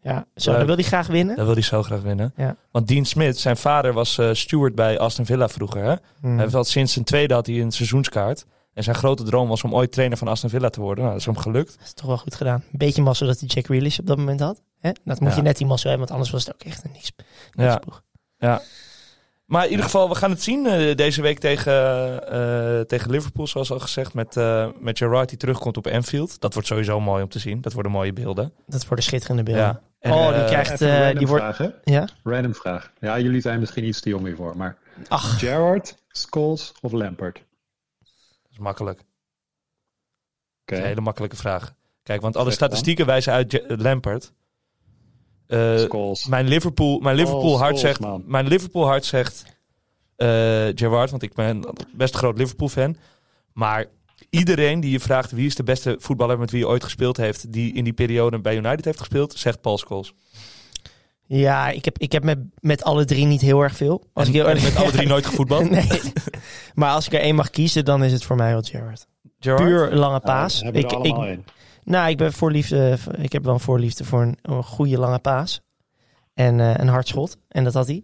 [SPEAKER 4] Ja, zo.
[SPEAKER 2] Leuk.
[SPEAKER 4] Dan wil hij graag winnen.
[SPEAKER 2] Dat wil hij zo graag winnen.
[SPEAKER 4] Ja.
[SPEAKER 2] Want Dean Smit, zijn vader was eh steward bij Aston Villa vroeger. Hè?
[SPEAKER 4] Hmm.
[SPEAKER 2] Hij had sinds zijn tweede had hij een seizoenskaart. En zijn grote droom was om ooit trainer van Aston Villa te worden. Nou, dat is hem gelukt.
[SPEAKER 4] Dat is toch wel goed gedaan. Een beetje mazzel dat hij Jack Grealish op dat moment had. Hè? Dat moet
[SPEAKER 2] Ja.
[SPEAKER 4] je net die mazzel hebben, want anders was het ook echt een niks, niks
[SPEAKER 2] Ja.
[SPEAKER 4] ploeg.
[SPEAKER 2] Dus, Maar in ieder geval, we gaan het zien eh, deze week tegen, eh, tegen Liverpool, zoals al gezegd. Met, eh met Gerrard die terugkomt op Anfield. Dat wordt sowieso mooi om te zien. Dat worden mooie beelden.
[SPEAKER 4] Dat worden schitterende
[SPEAKER 2] Ja.
[SPEAKER 4] beelden.
[SPEAKER 2] En,
[SPEAKER 4] Oh, die
[SPEAKER 2] eh,
[SPEAKER 4] krijgt- Echt,
[SPEAKER 3] Even een
[SPEAKER 4] eh,
[SPEAKER 3] random
[SPEAKER 4] die wordt-
[SPEAKER 3] vraag, hè?
[SPEAKER 4] Ja?
[SPEAKER 3] Random vraag. Ja, jullie zijn misschien iets te jong hiervoor, maar...
[SPEAKER 4] Ach.
[SPEAKER 3] Gerrard, Scholes of Lampard?
[SPEAKER 2] Dat is makkelijk.
[SPEAKER 3] Oké.
[SPEAKER 2] Dat is een hele makkelijke vraag. Kijk, want alle
[SPEAKER 3] Zeg dan.
[SPEAKER 2] statistieken wijzen uit Ja- Lampard. Eh,
[SPEAKER 3] Scholes.
[SPEAKER 2] mijn Liverpool, mijn Liverpool
[SPEAKER 3] Scholes,
[SPEAKER 2] hart zegt,
[SPEAKER 3] Oh, man.
[SPEAKER 2] mijn Liverpool hart zegt eh, Gerrard, want ik ben best een groot Liverpool fan. Maar iedereen die je vraagt wie is de beste voetballer met wie je ooit gespeeld heeft, die in die periode bij United heeft gespeeld, zegt Paul Scholes.
[SPEAKER 4] Ja, ik heb, ik heb met, met alle drie niet heel erg veel. Als
[SPEAKER 2] En,
[SPEAKER 4] ik heel
[SPEAKER 2] en
[SPEAKER 4] erg-
[SPEAKER 2] met alle
[SPEAKER 4] [laughs]
[SPEAKER 2] drie nooit gevoetbald.
[SPEAKER 4] Nee. Maar als ik er één mag kiezen, dan is het voor mij wel Gerrard.
[SPEAKER 2] Gerrard?
[SPEAKER 4] Puur lange paas.
[SPEAKER 3] Nou, hebben
[SPEAKER 4] ik,
[SPEAKER 3] we er allemaal
[SPEAKER 4] ik,
[SPEAKER 3] één.
[SPEAKER 4] nou, ik, ben voorliefde, ik heb wel een voorliefde voor een, een goede lange paas. En eh, een hard schot. En dat had hij.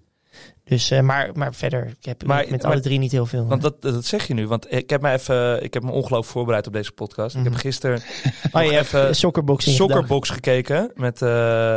[SPEAKER 4] Dus, eh, maar, maar verder, ik heb
[SPEAKER 2] Maar-
[SPEAKER 4] met
[SPEAKER 2] maar-
[SPEAKER 4] alle drie niet heel veel.
[SPEAKER 2] Want dat, dat zeg je nu, want ik heb me even, ik heb me ongelooflijk voorbereid op deze podcast. Ik
[SPEAKER 4] Mhm.
[SPEAKER 2] heb gisteren
[SPEAKER 4] Oh, je
[SPEAKER 2] nog
[SPEAKER 4] hebt
[SPEAKER 2] even
[SPEAKER 4] eh, soccerboxing. gedaan.
[SPEAKER 2] Soccerbox gekeken met eh,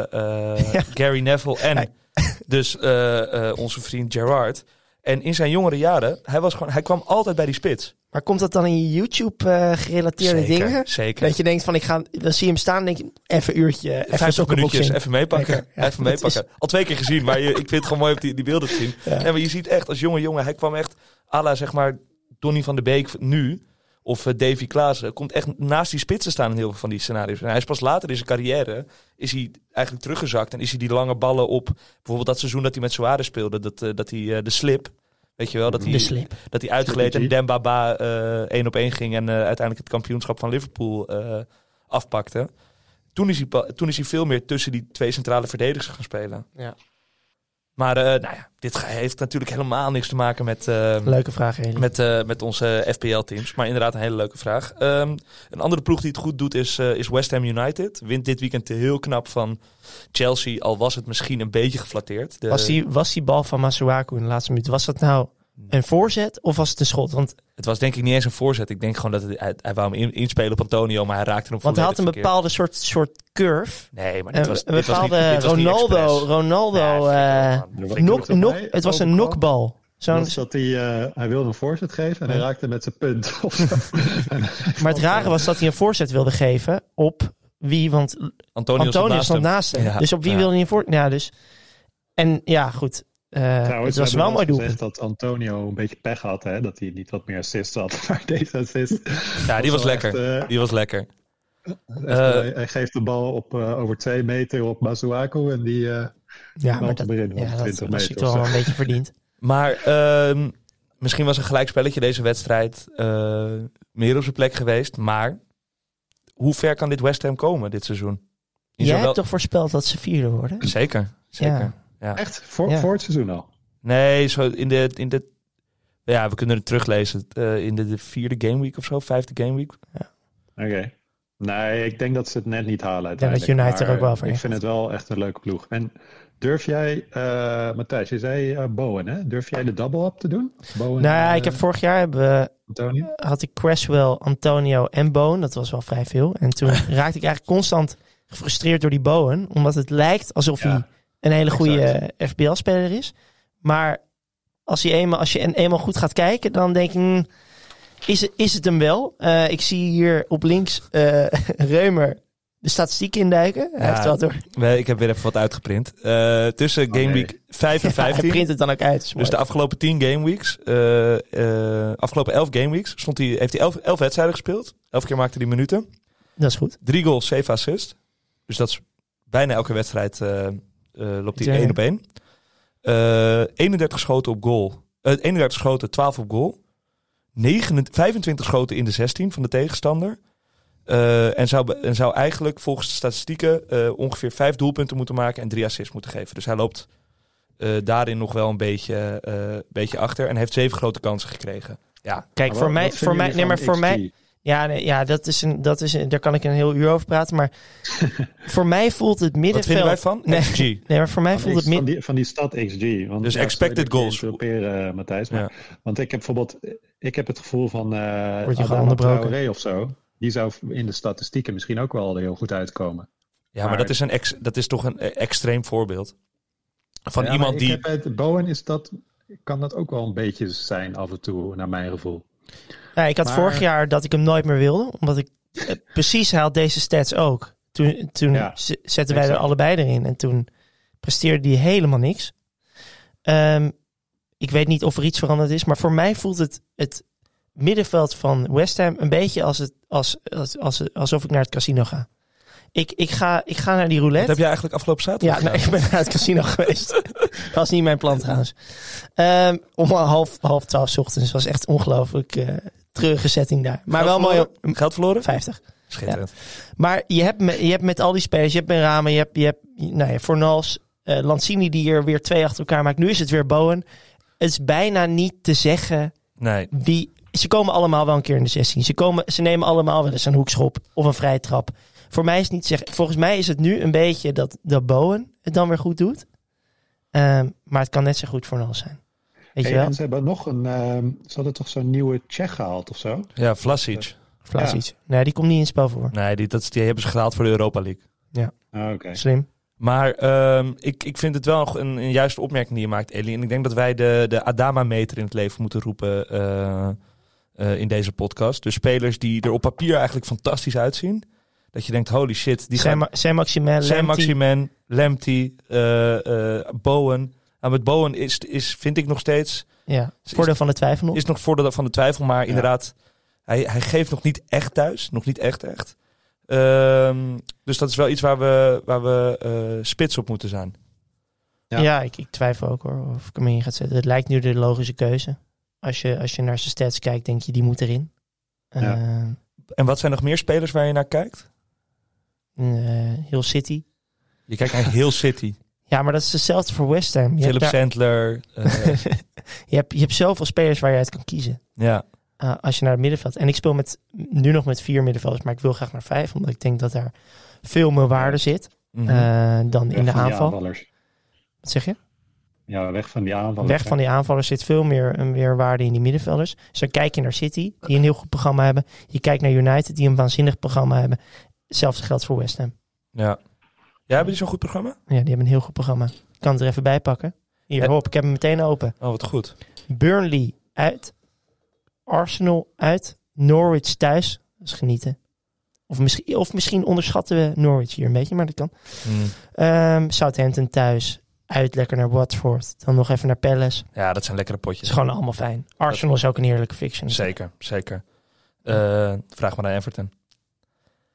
[SPEAKER 2] eh,
[SPEAKER 4] [laughs] Ja.
[SPEAKER 2] Gary Neville en
[SPEAKER 4] [laughs]
[SPEAKER 2] dus eh, eh, onze vriend Gerard. En in zijn jongere jaren, hij, was gewoon, hij kwam altijd bij die spits.
[SPEAKER 4] Maar komt dat dan in je YouTube-gerelateerde
[SPEAKER 2] Zeker,
[SPEAKER 4] dingen?
[SPEAKER 2] Zeker.
[SPEAKER 4] Dat je denkt van, ik ga, dan zie je hem staan en denk je, even een uurtje, eh, even
[SPEAKER 2] 50 minuutjes,
[SPEAKER 4] soccerboxing.
[SPEAKER 2] even meepakken.
[SPEAKER 4] Lekker, ja,
[SPEAKER 2] even
[SPEAKER 4] dat
[SPEAKER 2] meepakken. Al twee keer gezien, maar je, ik vind het gewoon mooi om die, die beelden te zien.
[SPEAKER 4] Ja.
[SPEAKER 2] Nee, maar je ziet echt, als jonge jongen, hij kwam echt à la, zeg maar, Donny van de Beek nu... Of eh, Davy Klaassen komt echt naast die spitsen staan in heel veel van die scenario's. En hij is pas later in zijn carrière is hij eigenlijk teruggezakt. En is hij die lange ballen op. Bijvoorbeeld dat seizoen dat hij met Suarez speelde. Dat, eh, dat hij eh, de slip. Weet je wel, dat hij,
[SPEAKER 4] De slip.
[SPEAKER 2] dat hij uitgeleed en
[SPEAKER 3] Slippy G.
[SPEAKER 2] Dembaba eh, één op één ging en eh, uiteindelijk het kampioenschap van Liverpool eh, afpakte. Toen is, hij, pa- toen is hij veel meer tussen die twee centrale verdedigers gaan spelen.
[SPEAKER 4] Ja.
[SPEAKER 2] Maar eh, nou ja, dit ge- heeft natuurlijk helemaal niks te maken met, eh,
[SPEAKER 4] Leuke vraag, Eli.
[SPEAKER 2] met, eh, met onze FPL-teams. Maar inderdaad, een hele leuke vraag. Ehm, een andere ploeg die het goed doet is, eh, is West Ham United. Wint dit weekend heel knap van Chelsea, al was het misschien een beetje geflatteerd. De-
[SPEAKER 4] was, die, was die bal van Masuaku in de laatste minuut, was dat nou een voorzet of was het een schot? Want,
[SPEAKER 2] Het was denk ik niet eens een voorzet. Ik denk gewoon dat het- hij, hij wou hem in- inspelen op Antonio, maar hij raakte hem
[SPEAKER 4] want hij had een
[SPEAKER 2] volledig verkeerd.
[SPEAKER 4] bepaalde soort, soort curve.
[SPEAKER 2] Nee, maar
[SPEAKER 4] Eh, Een
[SPEAKER 2] dit was, dit was niet,
[SPEAKER 4] bepaalde
[SPEAKER 2] dit was niet
[SPEAKER 4] Ronaldo,
[SPEAKER 2] expres.
[SPEAKER 4] Ronaldo,
[SPEAKER 2] Nee,
[SPEAKER 4] eh
[SPEAKER 2] flikker op, man.
[SPEAKER 3] Wat
[SPEAKER 4] knock-
[SPEAKER 3] doet dat
[SPEAKER 4] knock-
[SPEAKER 3] mee?
[SPEAKER 4] het was een
[SPEAKER 3] Overkant?
[SPEAKER 4] knockbal. Zo'n,
[SPEAKER 3] was dat hij, eh, hij wilde een voorzet geven en hij raakte met zijn punt. of zo. [laughs] En hij
[SPEAKER 4] maar het
[SPEAKER 3] valt,
[SPEAKER 4] rare
[SPEAKER 3] eh,
[SPEAKER 4] was dat hij een voorzet wilde geven op wie, want
[SPEAKER 2] Antonio,
[SPEAKER 4] Antonio stond
[SPEAKER 2] hem.
[SPEAKER 4] naast hem.
[SPEAKER 2] Ja,
[SPEAKER 4] Dus op wie
[SPEAKER 2] ja.
[SPEAKER 4] wilde hij een voorzet? Ja, dus. En ja, goed. Eh,
[SPEAKER 3] Trouwens,
[SPEAKER 4] [laughs] het
[SPEAKER 3] Nou, we
[SPEAKER 4] was
[SPEAKER 3] hebben
[SPEAKER 4] wel een mooi
[SPEAKER 3] al eens
[SPEAKER 4] doelpunt.
[SPEAKER 3] gezegd dat Antonio een beetje pech had, hè? dat hij niet wat meer assists had. [laughs] Maar deze assist.
[SPEAKER 2] Ja, die was
[SPEAKER 3] wel echt,
[SPEAKER 2] lekker.
[SPEAKER 3] eh,
[SPEAKER 2] Die was lekker.
[SPEAKER 3] echt,
[SPEAKER 2] Eh,
[SPEAKER 3] eh, hij geeft de bal op, eh, over twee meter op Masuaku en die eh
[SPEAKER 4] Ja, maar
[SPEAKER 3] knalt
[SPEAKER 4] dat,
[SPEAKER 3] hem erin.
[SPEAKER 4] ja,
[SPEAKER 3] 120
[SPEAKER 4] dat was
[SPEAKER 3] meter.
[SPEAKER 4] ik
[SPEAKER 3] of
[SPEAKER 4] wel
[SPEAKER 3] zo.
[SPEAKER 4] een beetje verdiend.
[SPEAKER 2] Maar ehm, misschien was een gelijkspelletje deze wedstrijd eh, meer op zijn plek geweest. Maar hoe ver kan dit West Ham komen dit seizoen? In
[SPEAKER 4] Jij
[SPEAKER 2] zowel-
[SPEAKER 4] hebt toch voorspeld dat ze vierde worden?
[SPEAKER 2] Zeker, zeker.
[SPEAKER 4] Ja.
[SPEAKER 3] Echt, voor,
[SPEAKER 4] Ja.
[SPEAKER 3] voor het seizoen al.
[SPEAKER 2] Nee, zo in de, in de... Ja, we kunnen het teruglezen. eh, in de, de vierde gameweek of zo, vijfde gameweek.
[SPEAKER 3] Oké. Nee, ik denk dat ze het net niet halen.
[SPEAKER 4] denk dat
[SPEAKER 3] uiteindelijk,
[SPEAKER 4] United er
[SPEAKER 3] maar eh,
[SPEAKER 4] ook wel voor
[SPEAKER 3] Ik
[SPEAKER 4] heeft.
[SPEAKER 3] vind het wel echt een leuke ploeg. En durf jij, eh Matthijs, je zei eh, Bowen, hè? Durf jij de double-up te doen? Bowen,
[SPEAKER 4] Nou ja,
[SPEAKER 3] eh,
[SPEAKER 4] ik heb vorig jaar hebben we-
[SPEAKER 3] Antonio?
[SPEAKER 4] had ik Cresswell, Antonio en Bowen. Dat was wel vrij veel. En toen raakte ik eigenlijk constant gefrustreerd door die Bowen. Omdat het lijkt alsof
[SPEAKER 3] Ja,
[SPEAKER 4] hij een hele
[SPEAKER 3] exact.
[SPEAKER 4] goede FBL-speler is. Maar als, hij eenmaal, als je en- eenmaal goed gaat kijken, dan denk ik... hmm, is, het, is het hem wel? Eh, ik zie hier op links eh, [laughs] Reumer de statistiek induiken. Hij
[SPEAKER 2] Ja,
[SPEAKER 4] heeft wel door. [laughs]
[SPEAKER 2] Nee, Ik heb weer even wat uitgeprint. Eh, tussen
[SPEAKER 3] Oh, nee.
[SPEAKER 2] gameweek 5 en
[SPEAKER 4] [laughs] Ja, hij
[SPEAKER 2] 15.
[SPEAKER 4] print het dan ook uit. is
[SPEAKER 2] Dus
[SPEAKER 4] mooi.
[SPEAKER 2] de afgelopen 10 gameweeks, eh, eh, afgelopen 11 gameweeks, stond hij, heeft hij 11 elf wedstrijden gespeeld. 11 keer maakte hij minuten.
[SPEAKER 4] Dat is goed.
[SPEAKER 2] Drie goals, 7 assists. Dus dat is bijna elke wedstrijd eh, eh, loopt hij
[SPEAKER 4] Ja.
[SPEAKER 2] 1 op 1. Eh 31 schoten op goal. Eh, 31 schoten, 12 op goal. 29 25 schoten in de 16 van de tegenstander. Eh, en, zou, be- en zou eigenlijk volgens de statistieken eh, ongeveer vijf doelpunten moeten maken en drie assists moeten geven. Dus hij loopt eh, daarin nog wel een beetje, eh, beetje achter. En heeft zeven grote kansen gekregen. Ja,
[SPEAKER 4] Kijk,
[SPEAKER 3] Maar
[SPEAKER 4] voor
[SPEAKER 3] Ah, wat-
[SPEAKER 4] mij,
[SPEAKER 3] wat
[SPEAKER 4] voor mij, nee,
[SPEAKER 3] vinden
[SPEAKER 4] maar
[SPEAKER 3] jullie
[SPEAKER 4] voor
[SPEAKER 3] van
[SPEAKER 4] mij,
[SPEAKER 3] XG?
[SPEAKER 4] Ja, nee, ja dat is een, dat is een, daar kan ik een heel uur over praten.
[SPEAKER 2] [laughs]
[SPEAKER 4] Maar voor mij voelt het
[SPEAKER 2] wat
[SPEAKER 4] middenveld...
[SPEAKER 2] vinden wij van?
[SPEAKER 4] Nee.
[SPEAKER 2] XG.
[SPEAKER 4] Nee, maar voor mij
[SPEAKER 3] Van,
[SPEAKER 4] voelt het
[SPEAKER 3] X- van,
[SPEAKER 4] midden...
[SPEAKER 3] die, van die stad XG. Want
[SPEAKER 2] Dus
[SPEAKER 3] ja,
[SPEAKER 2] expected
[SPEAKER 3] sorry dat ik je
[SPEAKER 2] goals.
[SPEAKER 3] interrompeer, eh, Matthijs. Maar,
[SPEAKER 2] Ja.
[SPEAKER 3] Want ik heb bijvoorbeeld ik heb het gevoel van eh
[SPEAKER 4] Word je
[SPEAKER 3] Adama
[SPEAKER 4] onderbroken?
[SPEAKER 3] Traoré of zo. Die zou in de statistieken misschien ook wel er heel goed uitkomen.
[SPEAKER 2] Ja, maar
[SPEAKER 3] Maar-
[SPEAKER 2] dat is, een ex, dat is toch een eh, extreem voorbeeld. Van
[SPEAKER 3] Ja, maar
[SPEAKER 2] iemand
[SPEAKER 3] ik
[SPEAKER 2] die...
[SPEAKER 3] heb het- Bowen is dat, kan dat ook wel een beetje zijn af en toe, naar mijn gevoel.
[SPEAKER 4] Ja, ik had
[SPEAKER 3] Maar-
[SPEAKER 4] vorig jaar dat ik hem nooit meer wilde. Omdat ik... eh, precies, hij had deze stats ook. Toen, toen
[SPEAKER 3] Ja,
[SPEAKER 4] z- zetten wij er
[SPEAKER 3] exact.
[SPEAKER 4] allebei erin. En toen presteerde hij helemaal niks. Ehm, ik weet niet of er iets veranderd is. Maar voor mij voelt het, het middenveld van West Ham een beetje als het, als, als, als, alsof ik naar het casino ga. Ik, ik, ga, ik ga naar die
[SPEAKER 2] Wat
[SPEAKER 4] roulette.
[SPEAKER 2] heb jij eigenlijk afgelopen zaterdag
[SPEAKER 4] Ja, nou, ik ben naar het casino [laughs] geweest. was niet mijn plan trouwens. Ehm, om half, half twaalf 's ochtends. was echt ongelooflijk eh treurige setting daar. Maar wel mooi op
[SPEAKER 2] mooi. Geld verloren?
[SPEAKER 4] 50.
[SPEAKER 2] Schitterend.
[SPEAKER 4] Maar je hebt, me- je hebt met al die spelers, je hebt Benrame, je hebt, je hebt nou ja, Fornals, eh Lanzini die er weer twee achter elkaar maakt. Nu is het weer Bowen. Het is bijna niet te zeggen
[SPEAKER 2] Nee.
[SPEAKER 4] wie... Ze komen allemaal wel een keer in de 16. Ze, komen, ze nemen allemaal wel eens een hoekschop of een vrije trap. Voor mij is het niet te zeggen. Volgens mij is het nu een beetje dat, dat Bowen het dan weer goed doet. Ehm, maar het kan net zo goed voor Nals zijn. Weet je
[SPEAKER 3] Hey,
[SPEAKER 4] wel?
[SPEAKER 3] en ze hebben nog een, ehm, ze hadden toch zo'n nieuwe Tsjech gehaald of zo?
[SPEAKER 2] Ja, Vlasic.
[SPEAKER 4] Vlasic. Nee, die komt niet in het spel voor.
[SPEAKER 2] Nee, die, dat, is- die hebben ze gehaald voor de Europa League.
[SPEAKER 3] Ah, Oké.
[SPEAKER 4] Slim.
[SPEAKER 2] Maar ehm, ik, ik vind het wel een, een juiste opmerking die je maakt, Ellie. En ik denk dat wij de, de Adama-meter in het leven moeten roepen eh, eh, in deze podcast. Dus spelers die er op papier eigenlijk fantastisch uitzien. Dat je denkt, holy shit, die gaan...
[SPEAKER 4] Zijn Maximin,
[SPEAKER 2] Zijn
[SPEAKER 4] Lempty.
[SPEAKER 2] Maximen, Lemty, eh, eh, Bowen. Nou, met Bowen is, is, vind ik nog steeds...
[SPEAKER 4] Ja, voordeel van de twijfel nog.
[SPEAKER 2] Is nog voordeel van de twijfel, maar inderdaad... Hij, hij geeft nog niet echt thuis. Nog niet echt, echt. Ehm, dus dat is wel iets waar we, waar we eh, spits op moeten zijn.
[SPEAKER 4] Ja,
[SPEAKER 3] Ja.
[SPEAKER 4] ik, ik twijfel ook hoor of ik hem in ga zetten. Het lijkt nu de logische keuze. Als je, als je naar zijn stats kijkt, denk je die moet erin.
[SPEAKER 3] Ja.
[SPEAKER 4] Ehm,
[SPEAKER 2] En wat zijn nog meer spelers waar je naar kijkt?
[SPEAKER 4] eh, heel City. [laughs]
[SPEAKER 2] Je kijkt naar heel City.
[SPEAKER 4] Ja, maar dat is hetzelfde voor West Ham. Je, hebt,
[SPEAKER 2] Philip
[SPEAKER 4] daar-
[SPEAKER 2] Sandler. eh,
[SPEAKER 4] [laughs] je, hebt, je hebt zoveel spelers waar je uit kan kiezen.
[SPEAKER 2] ja.
[SPEAKER 4] eh, als je naar het middenveld. En ik speel met, nu nog met vier middenvelders, maar ik wil graag naar vijf, omdat ik denk dat daar veel meer waarde zit
[SPEAKER 2] Mhm.
[SPEAKER 4] eh, dan in de
[SPEAKER 3] Weg van die
[SPEAKER 4] aanval.
[SPEAKER 3] aanvallers.
[SPEAKER 4] Wat zeg je?
[SPEAKER 3] Ja, weg van die aanvallers.
[SPEAKER 4] Weg van die aanvallers zit veel meer, een meer waarde in die middenvelders. Dus dan kijk je naar City, die een heel goed programma hebben. Je kijkt naar United, die een waanzinnig programma hebben. Hetzelfde geldt voor West Ham.
[SPEAKER 2] ja. Ja, hebben die zo'n goed programma?
[SPEAKER 4] Ja, die hebben een heel goed programma. Ik kan het er even bij pakken. Hier,
[SPEAKER 2] Ja.
[SPEAKER 4] hop, ik heb hem meteen open.
[SPEAKER 2] Oh, wat goed.
[SPEAKER 4] Burnley uit. Arsenal uit. Norwich thuis. Dat is genieten. Of misschien, of misschien onderschatten we Norwich hier een beetje, maar dat kan.
[SPEAKER 2] Mhm.
[SPEAKER 4] Ehm, Southampton thuis. Uit lekker naar Watford. Dan nog even naar Palace.
[SPEAKER 2] Ja, dat zijn lekkere
[SPEAKER 4] Het
[SPEAKER 2] potjes.
[SPEAKER 4] is gewoon allemaal fijn. Arsenal is ook een heerlijke fiction.
[SPEAKER 2] Zeker, zeker. Eh, vraag maar naar Everton.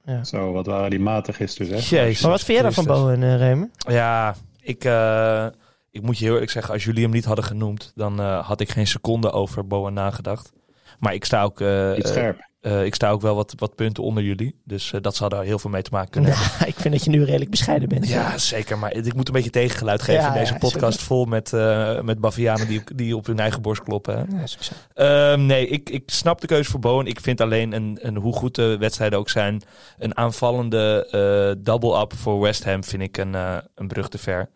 [SPEAKER 4] Ja.
[SPEAKER 3] Zo, wat waren die matig dus, gisteren, zeg.
[SPEAKER 2] Jezus.
[SPEAKER 4] Maar wat vind jij daarvan,
[SPEAKER 2] Christus.
[SPEAKER 4] Bowen, eh, Reumer?
[SPEAKER 2] Ja, ik, eh, ik moet je heel eerlijk zeggen, als jullie hem niet hadden genoemd, dan eh, had ik geen seconde over Bowen nagedacht. Maar ik sta ook, eh,
[SPEAKER 3] Niet
[SPEAKER 2] eh,
[SPEAKER 3] scherp.
[SPEAKER 2] eh, ik sta ook wel wat, wat punten onder jullie. Dus eh, dat zou daar heel veel mee te maken kunnen hebben.
[SPEAKER 4] Ja, [laughs] ik vind dat je nu redelijk bescheiden bent.
[SPEAKER 2] Ja, zeker. Maar ik moet een beetje tegengeluid geven
[SPEAKER 4] Ja,
[SPEAKER 2] in deze
[SPEAKER 4] ja,
[SPEAKER 2] podcast
[SPEAKER 4] zeker.
[SPEAKER 2] vol met, eh met bavianen die, die op hun eigen borst kloppen. hè.
[SPEAKER 4] Ja, succes.
[SPEAKER 2] Ehm, nee, ik, ik snap de keuze voor Bowen. Ik vind alleen, een, een, hoe goed de wedstrijden ook zijn, een aanvallende eh, double-up voor West Ham vind ik een, eh, een brug te ver.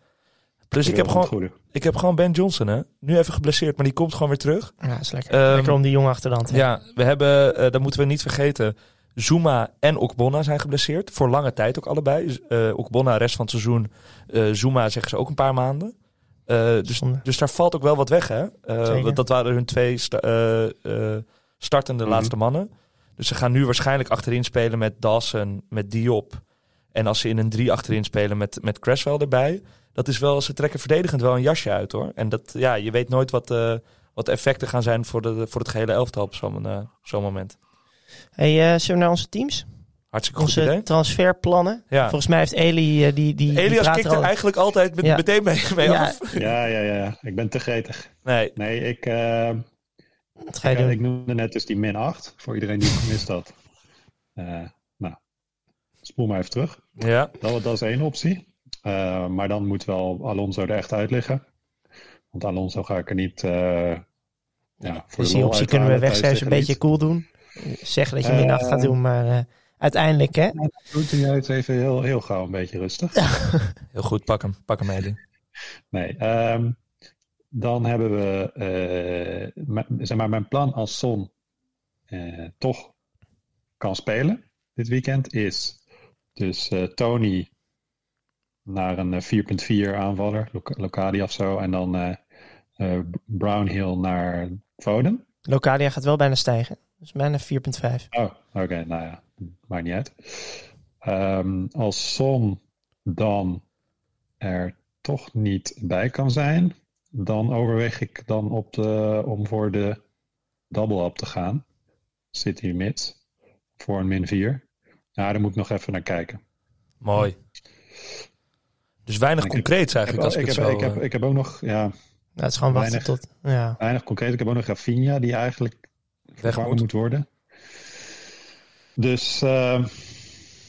[SPEAKER 2] Plus ik heb, gewoon,
[SPEAKER 3] Goede.
[SPEAKER 2] ik heb gewoon Ben Johnson, hè. Nu even geblesseerd, maar die komt gewoon weer terug.
[SPEAKER 4] Ja, is lekker.
[SPEAKER 2] Ehm,
[SPEAKER 4] lekker om die jongen achter de hand te
[SPEAKER 2] Ja, we hebben, eh, dat moeten we niet vergeten, Zuma en Okbonna zijn geblesseerd. Voor lange tijd ook allebei. Z- eh Okbonna rest van het seizoen, eh, Zuma zeggen ze ook een paar maanden. Eh,
[SPEAKER 4] hebben.
[SPEAKER 2] dus
[SPEAKER 4] Zonde.
[SPEAKER 2] dus daar valt ook wel wat weg, hè? Eh,
[SPEAKER 4] Zeker.
[SPEAKER 2] want dat waren hun twee sta- eh, eh, startende
[SPEAKER 3] Mhm.
[SPEAKER 2] laatste mannen. Dus ze gaan nu waarschijnlijk achterin spelen met Dawson, met Diop. En als ze in een drie achterin spelen met, met Cresswell erbij. Dat is wel, ze trekken verdedigend wel een jasje uit, hoor. En dat, ja, je weet nooit wat, eh, wat de effecten gaan zijn voor, de, voor het gehele elftal op zo'n eh, zo'n moment.
[SPEAKER 4] Hey, eh, zullen we naar onze teams?
[SPEAKER 2] Hartstikke goed
[SPEAKER 4] Onze
[SPEAKER 2] idee.
[SPEAKER 4] transferplannen.
[SPEAKER 2] Ja.
[SPEAKER 4] Volgens mij heeft Eli eh, die, die. die
[SPEAKER 2] Elias
[SPEAKER 4] praat
[SPEAKER 2] kikt
[SPEAKER 4] al-
[SPEAKER 2] er eigenlijk altijd met,
[SPEAKER 4] Ja.
[SPEAKER 2] meteen mee, mee
[SPEAKER 4] Ja,
[SPEAKER 2] af.
[SPEAKER 3] Ja, ja, ja. Ik ben te gretig.
[SPEAKER 2] Nee,
[SPEAKER 3] Nee, ik, eh,
[SPEAKER 4] Wat ga je
[SPEAKER 3] ik,
[SPEAKER 4] doen?
[SPEAKER 3] ik noemde net dus die min 8. Voor iedereen die het gemist had. Eh, nou, spoel maar even terug.
[SPEAKER 2] ja.
[SPEAKER 3] Dat, dat is één optie. Eh, maar dan moet wel Alonso er echt uit liggen. Want Alonso ga ik er niet. eh, ja, voor
[SPEAKER 4] Dus
[SPEAKER 3] de
[SPEAKER 4] die
[SPEAKER 3] lol
[SPEAKER 4] optie
[SPEAKER 3] uithalen
[SPEAKER 4] kunnen we
[SPEAKER 3] thuis
[SPEAKER 4] wegstrepen, een
[SPEAKER 3] tegen
[SPEAKER 4] beetje cool doen. Zeg dat je min
[SPEAKER 3] Eh,
[SPEAKER 4] 8 gaat doen, maar eh, uiteindelijk, hè?
[SPEAKER 3] Leeds. Doet hij het even heel, heel gauw een beetje rustig.
[SPEAKER 2] Heel goed, pak hem. Pak hem, Eli.
[SPEAKER 3] Nee, ehm, dan hebben we, eh, m- zeg maar, mijn plan als Son eh, toch kan spelen dit weekend is dus eh, Tony naar een eh, 4.4 aanvaller, Loc- Locadia of zo, en dan eh eh, Brownhill naar Foden.
[SPEAKER 4] Locadia gaat wel bijna stijgen. Dus bijna 4,5.
[SPEAKER 3] Oh, oké, nou ja, maakt niet uit. Ehm, als Son dan er toch niet bij kan zijn, dan overweeg ik dan op de, om voor de double-up te gaan. City mid, voor een min 4. Ja, daar moet ik nog even naar kijken.
[SPEAKER 2] Mooi. Dus weinig
[SPEAKER 3] Ik heb-
[SPEAKER 2] concreets
[SPEAKER 3] Ik heb,
[SPEAKER 2] eigenlijk, als ik,
[SPEAKER 3] ik,
[SPEAKER 2] het
[SPEAKER 3] heb,
[SPEAKER 2] zo...
[SPEAKER 3] ik, heb,
[SPEAKER 2] eh,
[SPEAKER 3] ik heb ook nog, ja,
[SPEAKER 4] Nou, het is gewoon wachten
[SPEAKER 3] Weinig.
[SPEAKER 4] tot. Ja.
[SPEAKER 3] weinig concreet. Ik heb ook nog Rafinha, die eigenlijk vervangen
[SPEAKER 2] moet.
[SPEAKER 3] moet worden. Dus eh,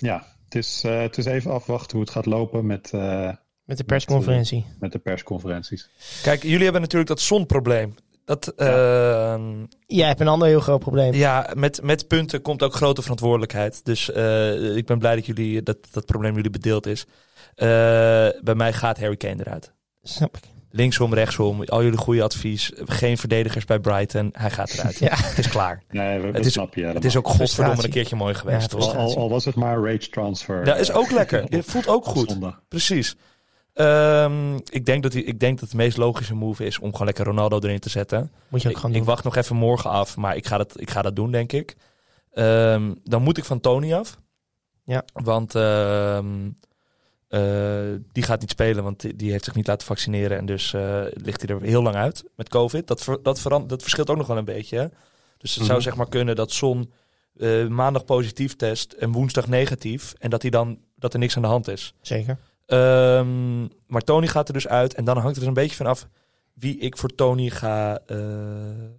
[SPEAKER 3] ja, het is, eh, het is even afwachten hoe het gaat lopen met, eh,
[SPEAKER 4] Met de persconferentie.
[SPEAKER 3] met de persconferenties.
[SPEAKER 2] Kijk, jullie hebben natuurlijk dat zonprobleem. Dat, ehm,
[SPEAKER 4] Jij hebt een ander heel groot probleem.
[SPEAKER 2] ja, met, met punten komt ook grote verantwoordelijkheid. Dus eh, ik ben blij dat, jullie, dat dat probleem jullie bedeeld is. Eh, bij mij gaat Harry Kane eruit.
[SPEAKER 4] Snap ik.
[SPEAKER 2] Linksom, rechtsom, al jullie goede advies. Geen verdedigers bij Brighton. Hij gaat eruit.
[SPEAKER 4] [laughs] Ja.
[SPEAKER 2] Het is klaar.
[SPEAKER 3] Nee, we, we
[SPEAKER 2] Het is-
[SPEAKER 3] snap je
[SPEAKER 2] Het
[SPEAKER 3] helemaal.
[SPEAKER 2] is ook godverdomme een
[SPEAKER 4] Frustratie.
[SPEAKER 2] keertje mooi geweest.
[SPEAKER 4] Ja,
[SPEAKER 2] hoor.
[SPEAKER 3] al, al, al was het maar een rage transfer.
[SPEAKER 2] Dat is ook
[SPEAKER 4] [laughs]
[SPEAKER 2] lekker.
[SPEAKER 3] op
[SPEAKER 2] Het voelt ook goed.
[SPEAKER 3] zondag.
[SPEAKER 2] Precies. Ehm, ik, denk dat die, ik denk dat het meest logische move is om gewoon lekker Ronaldo erin te zetten.
[SPEAKER 4] Moet je ook
[SPEAKER 2] Ik,
[SPEAKER 4] gaan
[SPEAKER 2] ik
[SPEAKER 4] doen.
[SPEAKER 2] wacht nog even morgen af, maar ik ga dat, ik ga dat doen, denk ik. Ehm, dan moet ik van Tony af.
[SPEAKER 4] Ja.
[SPEAKER 2] Want ehm, eh, die gaat niet spelen, want die, die heeft zich niet laten vaccineren. En dus eh, ligt hij er heel lang uit met COVID. Dat, ver- dat, veran- dat verschilt ook nog wel een beetje. Hè? Dus het zou
[SPEAKER 3] Mhm.
[SPEAKER 2] zeg maar kunnen dat Son eh, maandag positief test en woensdag negatief. En dat, hij dan, dat er niks aan de hand is.
[SPEAKER 4] Zeker.
[SPEAKER 2] Ehm, maar Tony gaat er dus uit. En dan hangt het er een beetje van af wie ik voor Tony ga eh,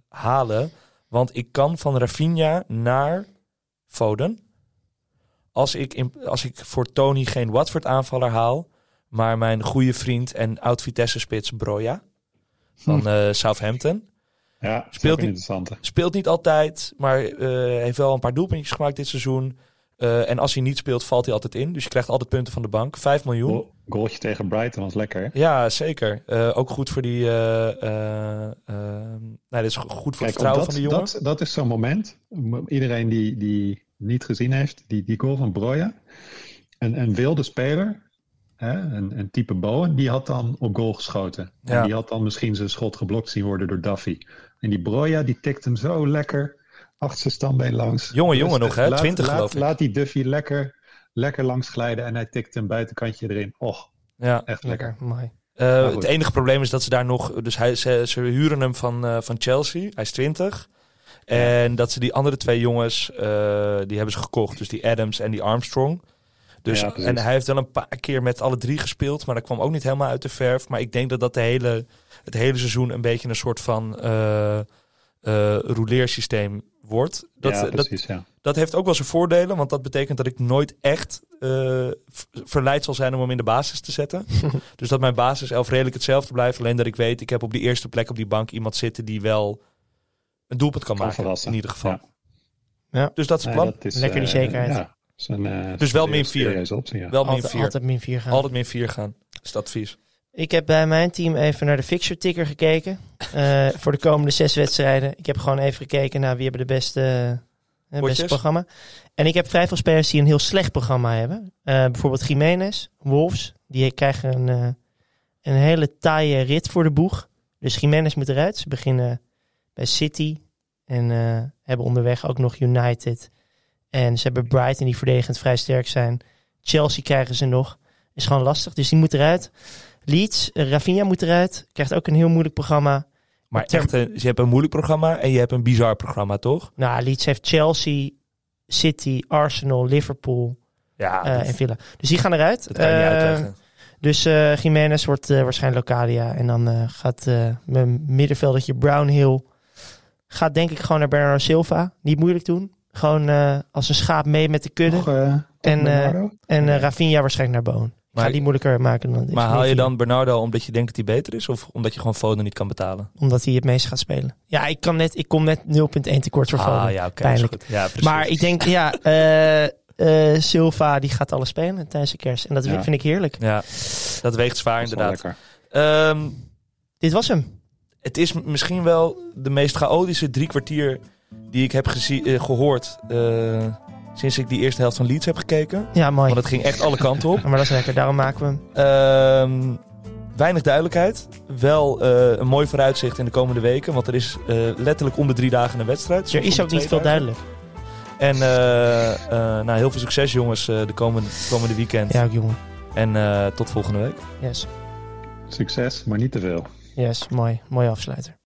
[SPEAKER 2] halen. Want ik kan van Rafinha naar Foden. Als ik, in, als ik voor Tony geen Watford aanvaller haal, Maar mijn goede vriend en oud-Vitesse-spits Broja van eh, Southampton.
[SPEAKER 3] Ja,
[SPEAKER 2] Speelt
[SPEAKER 3] speelt
[SPEAKER 2] die-
[SPEAKER 3] interessante.
[SPEAKER 2] Speelt niet altijd, maar eh, heeft wel een paar doelpuntjes gemaakt dit seizoen. Eh, en als hij niet speelt, valt hij altijd in. Dus je krijgt altijd punten van de bank. 5 miljoen.
[SPEAKER 3] Goal- Goaltje tegen Brighton was lekker. hè?
[SPEAKER 2] Ja, zeker. Eh, ook goed voor die. eh, eh, eh, nou, dit is go- goed voor het
[SPEAKER 3] Kijk,
[SPEAKER 2] vertrouwen
[SPEAKER 3] dat,
[SPEAKER 2] van de jongen.
[SPEAKER 3] Dat, dat is zo'n moment. M- Iedereen die, die niet gezien heeft, die, die goal van Broja. Een, een wilde speler, hè, een, een type Bowen, die had dan op goal geschoten.
[SPEAKER 2] Ja.
[SPEAKER 3] En die had dan misschien zijn schot geblokt zien worden door Duffy. En die Broja, die tikt hem zo lekker achter zijn standbeen langs.
[SPEAKER 2] Jonge jongen
[SPEAKER 3] Rustig.
[SPEAKER 2] nog, hè?
[SPEAKER 3] Laat-
[SPEAKER 2] 20
[SPEAKER 3] laat,
[SPEAKER 2] geloof ik.
[SPEAKER 3] Laat die Duffy lekker, lekker langs glijden en hij tikt hem buitenkantje erin. Och,
[SPEAKER 2] Ja.
[SPEAKER 3] echt lekker.
[SPEAKER 4] mooi.
[SPEAKER 2] Eh,
[SPEAKER 3] goed.
[SPEAKER 2] het enige probleem is dat ze daar nog. Dus hij, ze, ze huren hem van, eh, van Chelsea. Hij is 20. En dat ze die andere twee jongens. eh, die hebben ze gekocht. Dus die Adams en die Armstrong. Dus,
[SPEAKER 3] Ja, precies.
[SPEAKER 2] en hij heeft wel een paar keer met alle drie gespeeld. Maar dat kwam ook niet helemaal uit de verf. Maar ik denk dat dat de hele, het hele seizoen een beetje een soort van. eh eh, rouleersysteem wordt. Dat,
[SPEAKER 3] ja,
[SPEAKER 2] dat,
[SPEAKER 3] precies, ja.
[SPEAKER 2] Dat heeft ook wel zijn voordelen, want dat betekent dat ik nooit echt eh, v- verleid zal zijn om hem in de basis te
[SPEAKER 3] [laughs]
[SPEAKER 2] zetten. dus dat mijn basiself redelijk hetzelfde blijft. Alleen dat ik weet, ik heb op die eerste plek op die bank iemand zitten die wel een doelpunt kan,
[SPEAKER 3] Kan
[SPEAKER 2] maken.
[SPEAKER 3] verrassen.
[SPEAKER 2] In ieder geval.
[SPEAKER 3] Ja.
[SPEAKER 4] Ja.
[SPEAKER 2] Dus dat is het
[SPEAKER 3] Nee,
[SPEAKER 2] plan.
[SPEAKER 3] dat is,
[SPEAKER 4] Lekker die
[SPEAKER 3] eh,
[SPEAKER 4] zekerheid.
[SPEAKER 3] ja, is een, eh,
[SPEAKER 2] Dus wel min vier.
[SPEAKER 3] serieuze optie, ja.
[SPEAKER 2] wel min
[SPEAKER 4] Altijd,
[SPEAKER 2] 4. Altijd,
[SPEAKER 4] altijd min 4 gaan.
[SPEAKER 2] min 4 gaan. Dat is het advies.
[SPEAKER 4] Ik heb bij mijn team even naar de fixture ticker gekeken. eh, voor de komende zes wedstrijden. Ik heb gewoon even gekeken naar wie hebben de beste, eh,
[SPEAKER 2] Potjes?
[SPEAKER 4] beste programma. En ik heb vrij veel spelers die een heel slecht programma hebben. Eh, bijvoorbeeld Jiménez, Wolves. Die krijgen een, eh, een hele taaie rit voor de boeg. Dus Jiménez moet eruit. Ze beginnen bij City. En eh, hebben onderweg ook nog United. En ze hebben Brighton die verdedigend vrij sterk zijn. Chelsea krijgen ze nog. Is gewoon lastig. Dus die moet eruit. Leeds, eh, Rafinha moet eruit. Krijgt ook een heel moeilijk programma.
[SPEAKER 2] Maar
[SPEAKER 4] Ter-
[SPEAKER 2] echt, een- je hebt een moeilijk programma en je hebt een bizar programma, toch?
[SPEAKER 4] Nou, Leeds heeft Chelsea, City, Arsenal, Liverpool
[SPEAKER 2] Ja,
[SPEAKER 4] eh,
[SPEAKER 2] Ah, dat,
[SPEAKER 4] en Villa. Dus die gaan eruit.
[SPEAKER 2] dat kan je niet
[SPEAKER 4] Eh,
[SPEAKER 2] uitleggen.
[SPEAKER 4] Dus eh Jiménez wordt eh, waarschijnlijk Locadia. En dan eh, gaat eh, mijn middenveldertje Brownhill... gaat denk ik gewoon naar Bernardo Silva. Niet moeilijk doen. Gewoon eh, als een schaap mee met de kudde.
[SPEAKER 2] Oh,
[SPEAKER 3] Nog, eh,
[SPEAKER 4] En, eh,
[SPEAKER 3] Bernardo?
[SPEAKER 4] en eh, Rafinha waarschijnlijk naar Boon. Ik ga
[SPEAKER 2] Maar-
[SPEAKER 4] die moeilijker maken dan dit.
[SPEAKER 2] Maar haal
[SPEAKER 4] Nee,
[SPEAKER 2] je dan Bernardo omdat je denkt dat hij beter is? Of omdat je gewoon Foden niet kan betalen?
[SPEAKER 4] Omdat hij het meest gaat spelen. Ja, ik, kan net, ik kom net 0.1 tekort voor Foden.
[SPEAKER 2] Ah ja, oké. is
[SPEAKER 4] Pijnlijk.
[SPEAKER 2] goed. ja, precies.
[SPEAKER 4] Maar ik denk,
[SPEAKER 2] [laughs]
[SPEAKER 4] ja, eh, eh, Silva die gaat alles spelen tijdens de kerst. En dat
[SPEAKER 3] Ja.
[SPEAKER 4] vind ik heerlijk.
[SPEAKER 2] Ja, dat weegt zwaar
[SPEAKER 3] Dat is wel
[SPEAKER 2] inderdaad.
[SPEAKER 3] lekker.
[SPEAKER 2] Ehm,
[SPEAKER 4] Dit was hem.
[SPEAKER 2] het is m- misschien wel de meest chaotische drie kwartier die ik heb gezie- eh, gehoord eh, sinds ik die eerste helft van Leeds heb gekeken.
[SPEAKER 4] Ja, mooi.
[SPEAKER 2] Want het ging echt alle kanten
[SPEAKER 3] [laughs]
[SPEAKER 2] op.
[SPEAKER 4] Maar dat is lekker, daarom maken we hem.
[SPEAKER 2] Ehm, weinig duidelijkheid. Wel eh, een mooi vooruitzicht in de komende weken. Want er is eh, letterlijk om de drie dagen een wedstrijd.
[SPEAKER 4] Er
[SPEAKER 2] Soms om
[SPEAKER 4] is
[SPEAKER 2] de
[SPEAKER 4] ook niet
[SPEAKER 2] twee
[SPEAKER 4] veel
[SPEAKER 2] dagen.
[SPEAKER 4] duidelijk.
[SPEAKER 2] En eh, eh, nou, heel veel succes jongens eh, de komende, komende weekend.
[SPEAKER 4] Ja, ook jongen.
[SPEAKER 2] En eh, tot volgende week.
[SPEAKER 4] Yes,
[SPEAKER 3] Succes, maar niet te veel.
[SPEAKER 4] yes, mooi. Mooie afsluiter.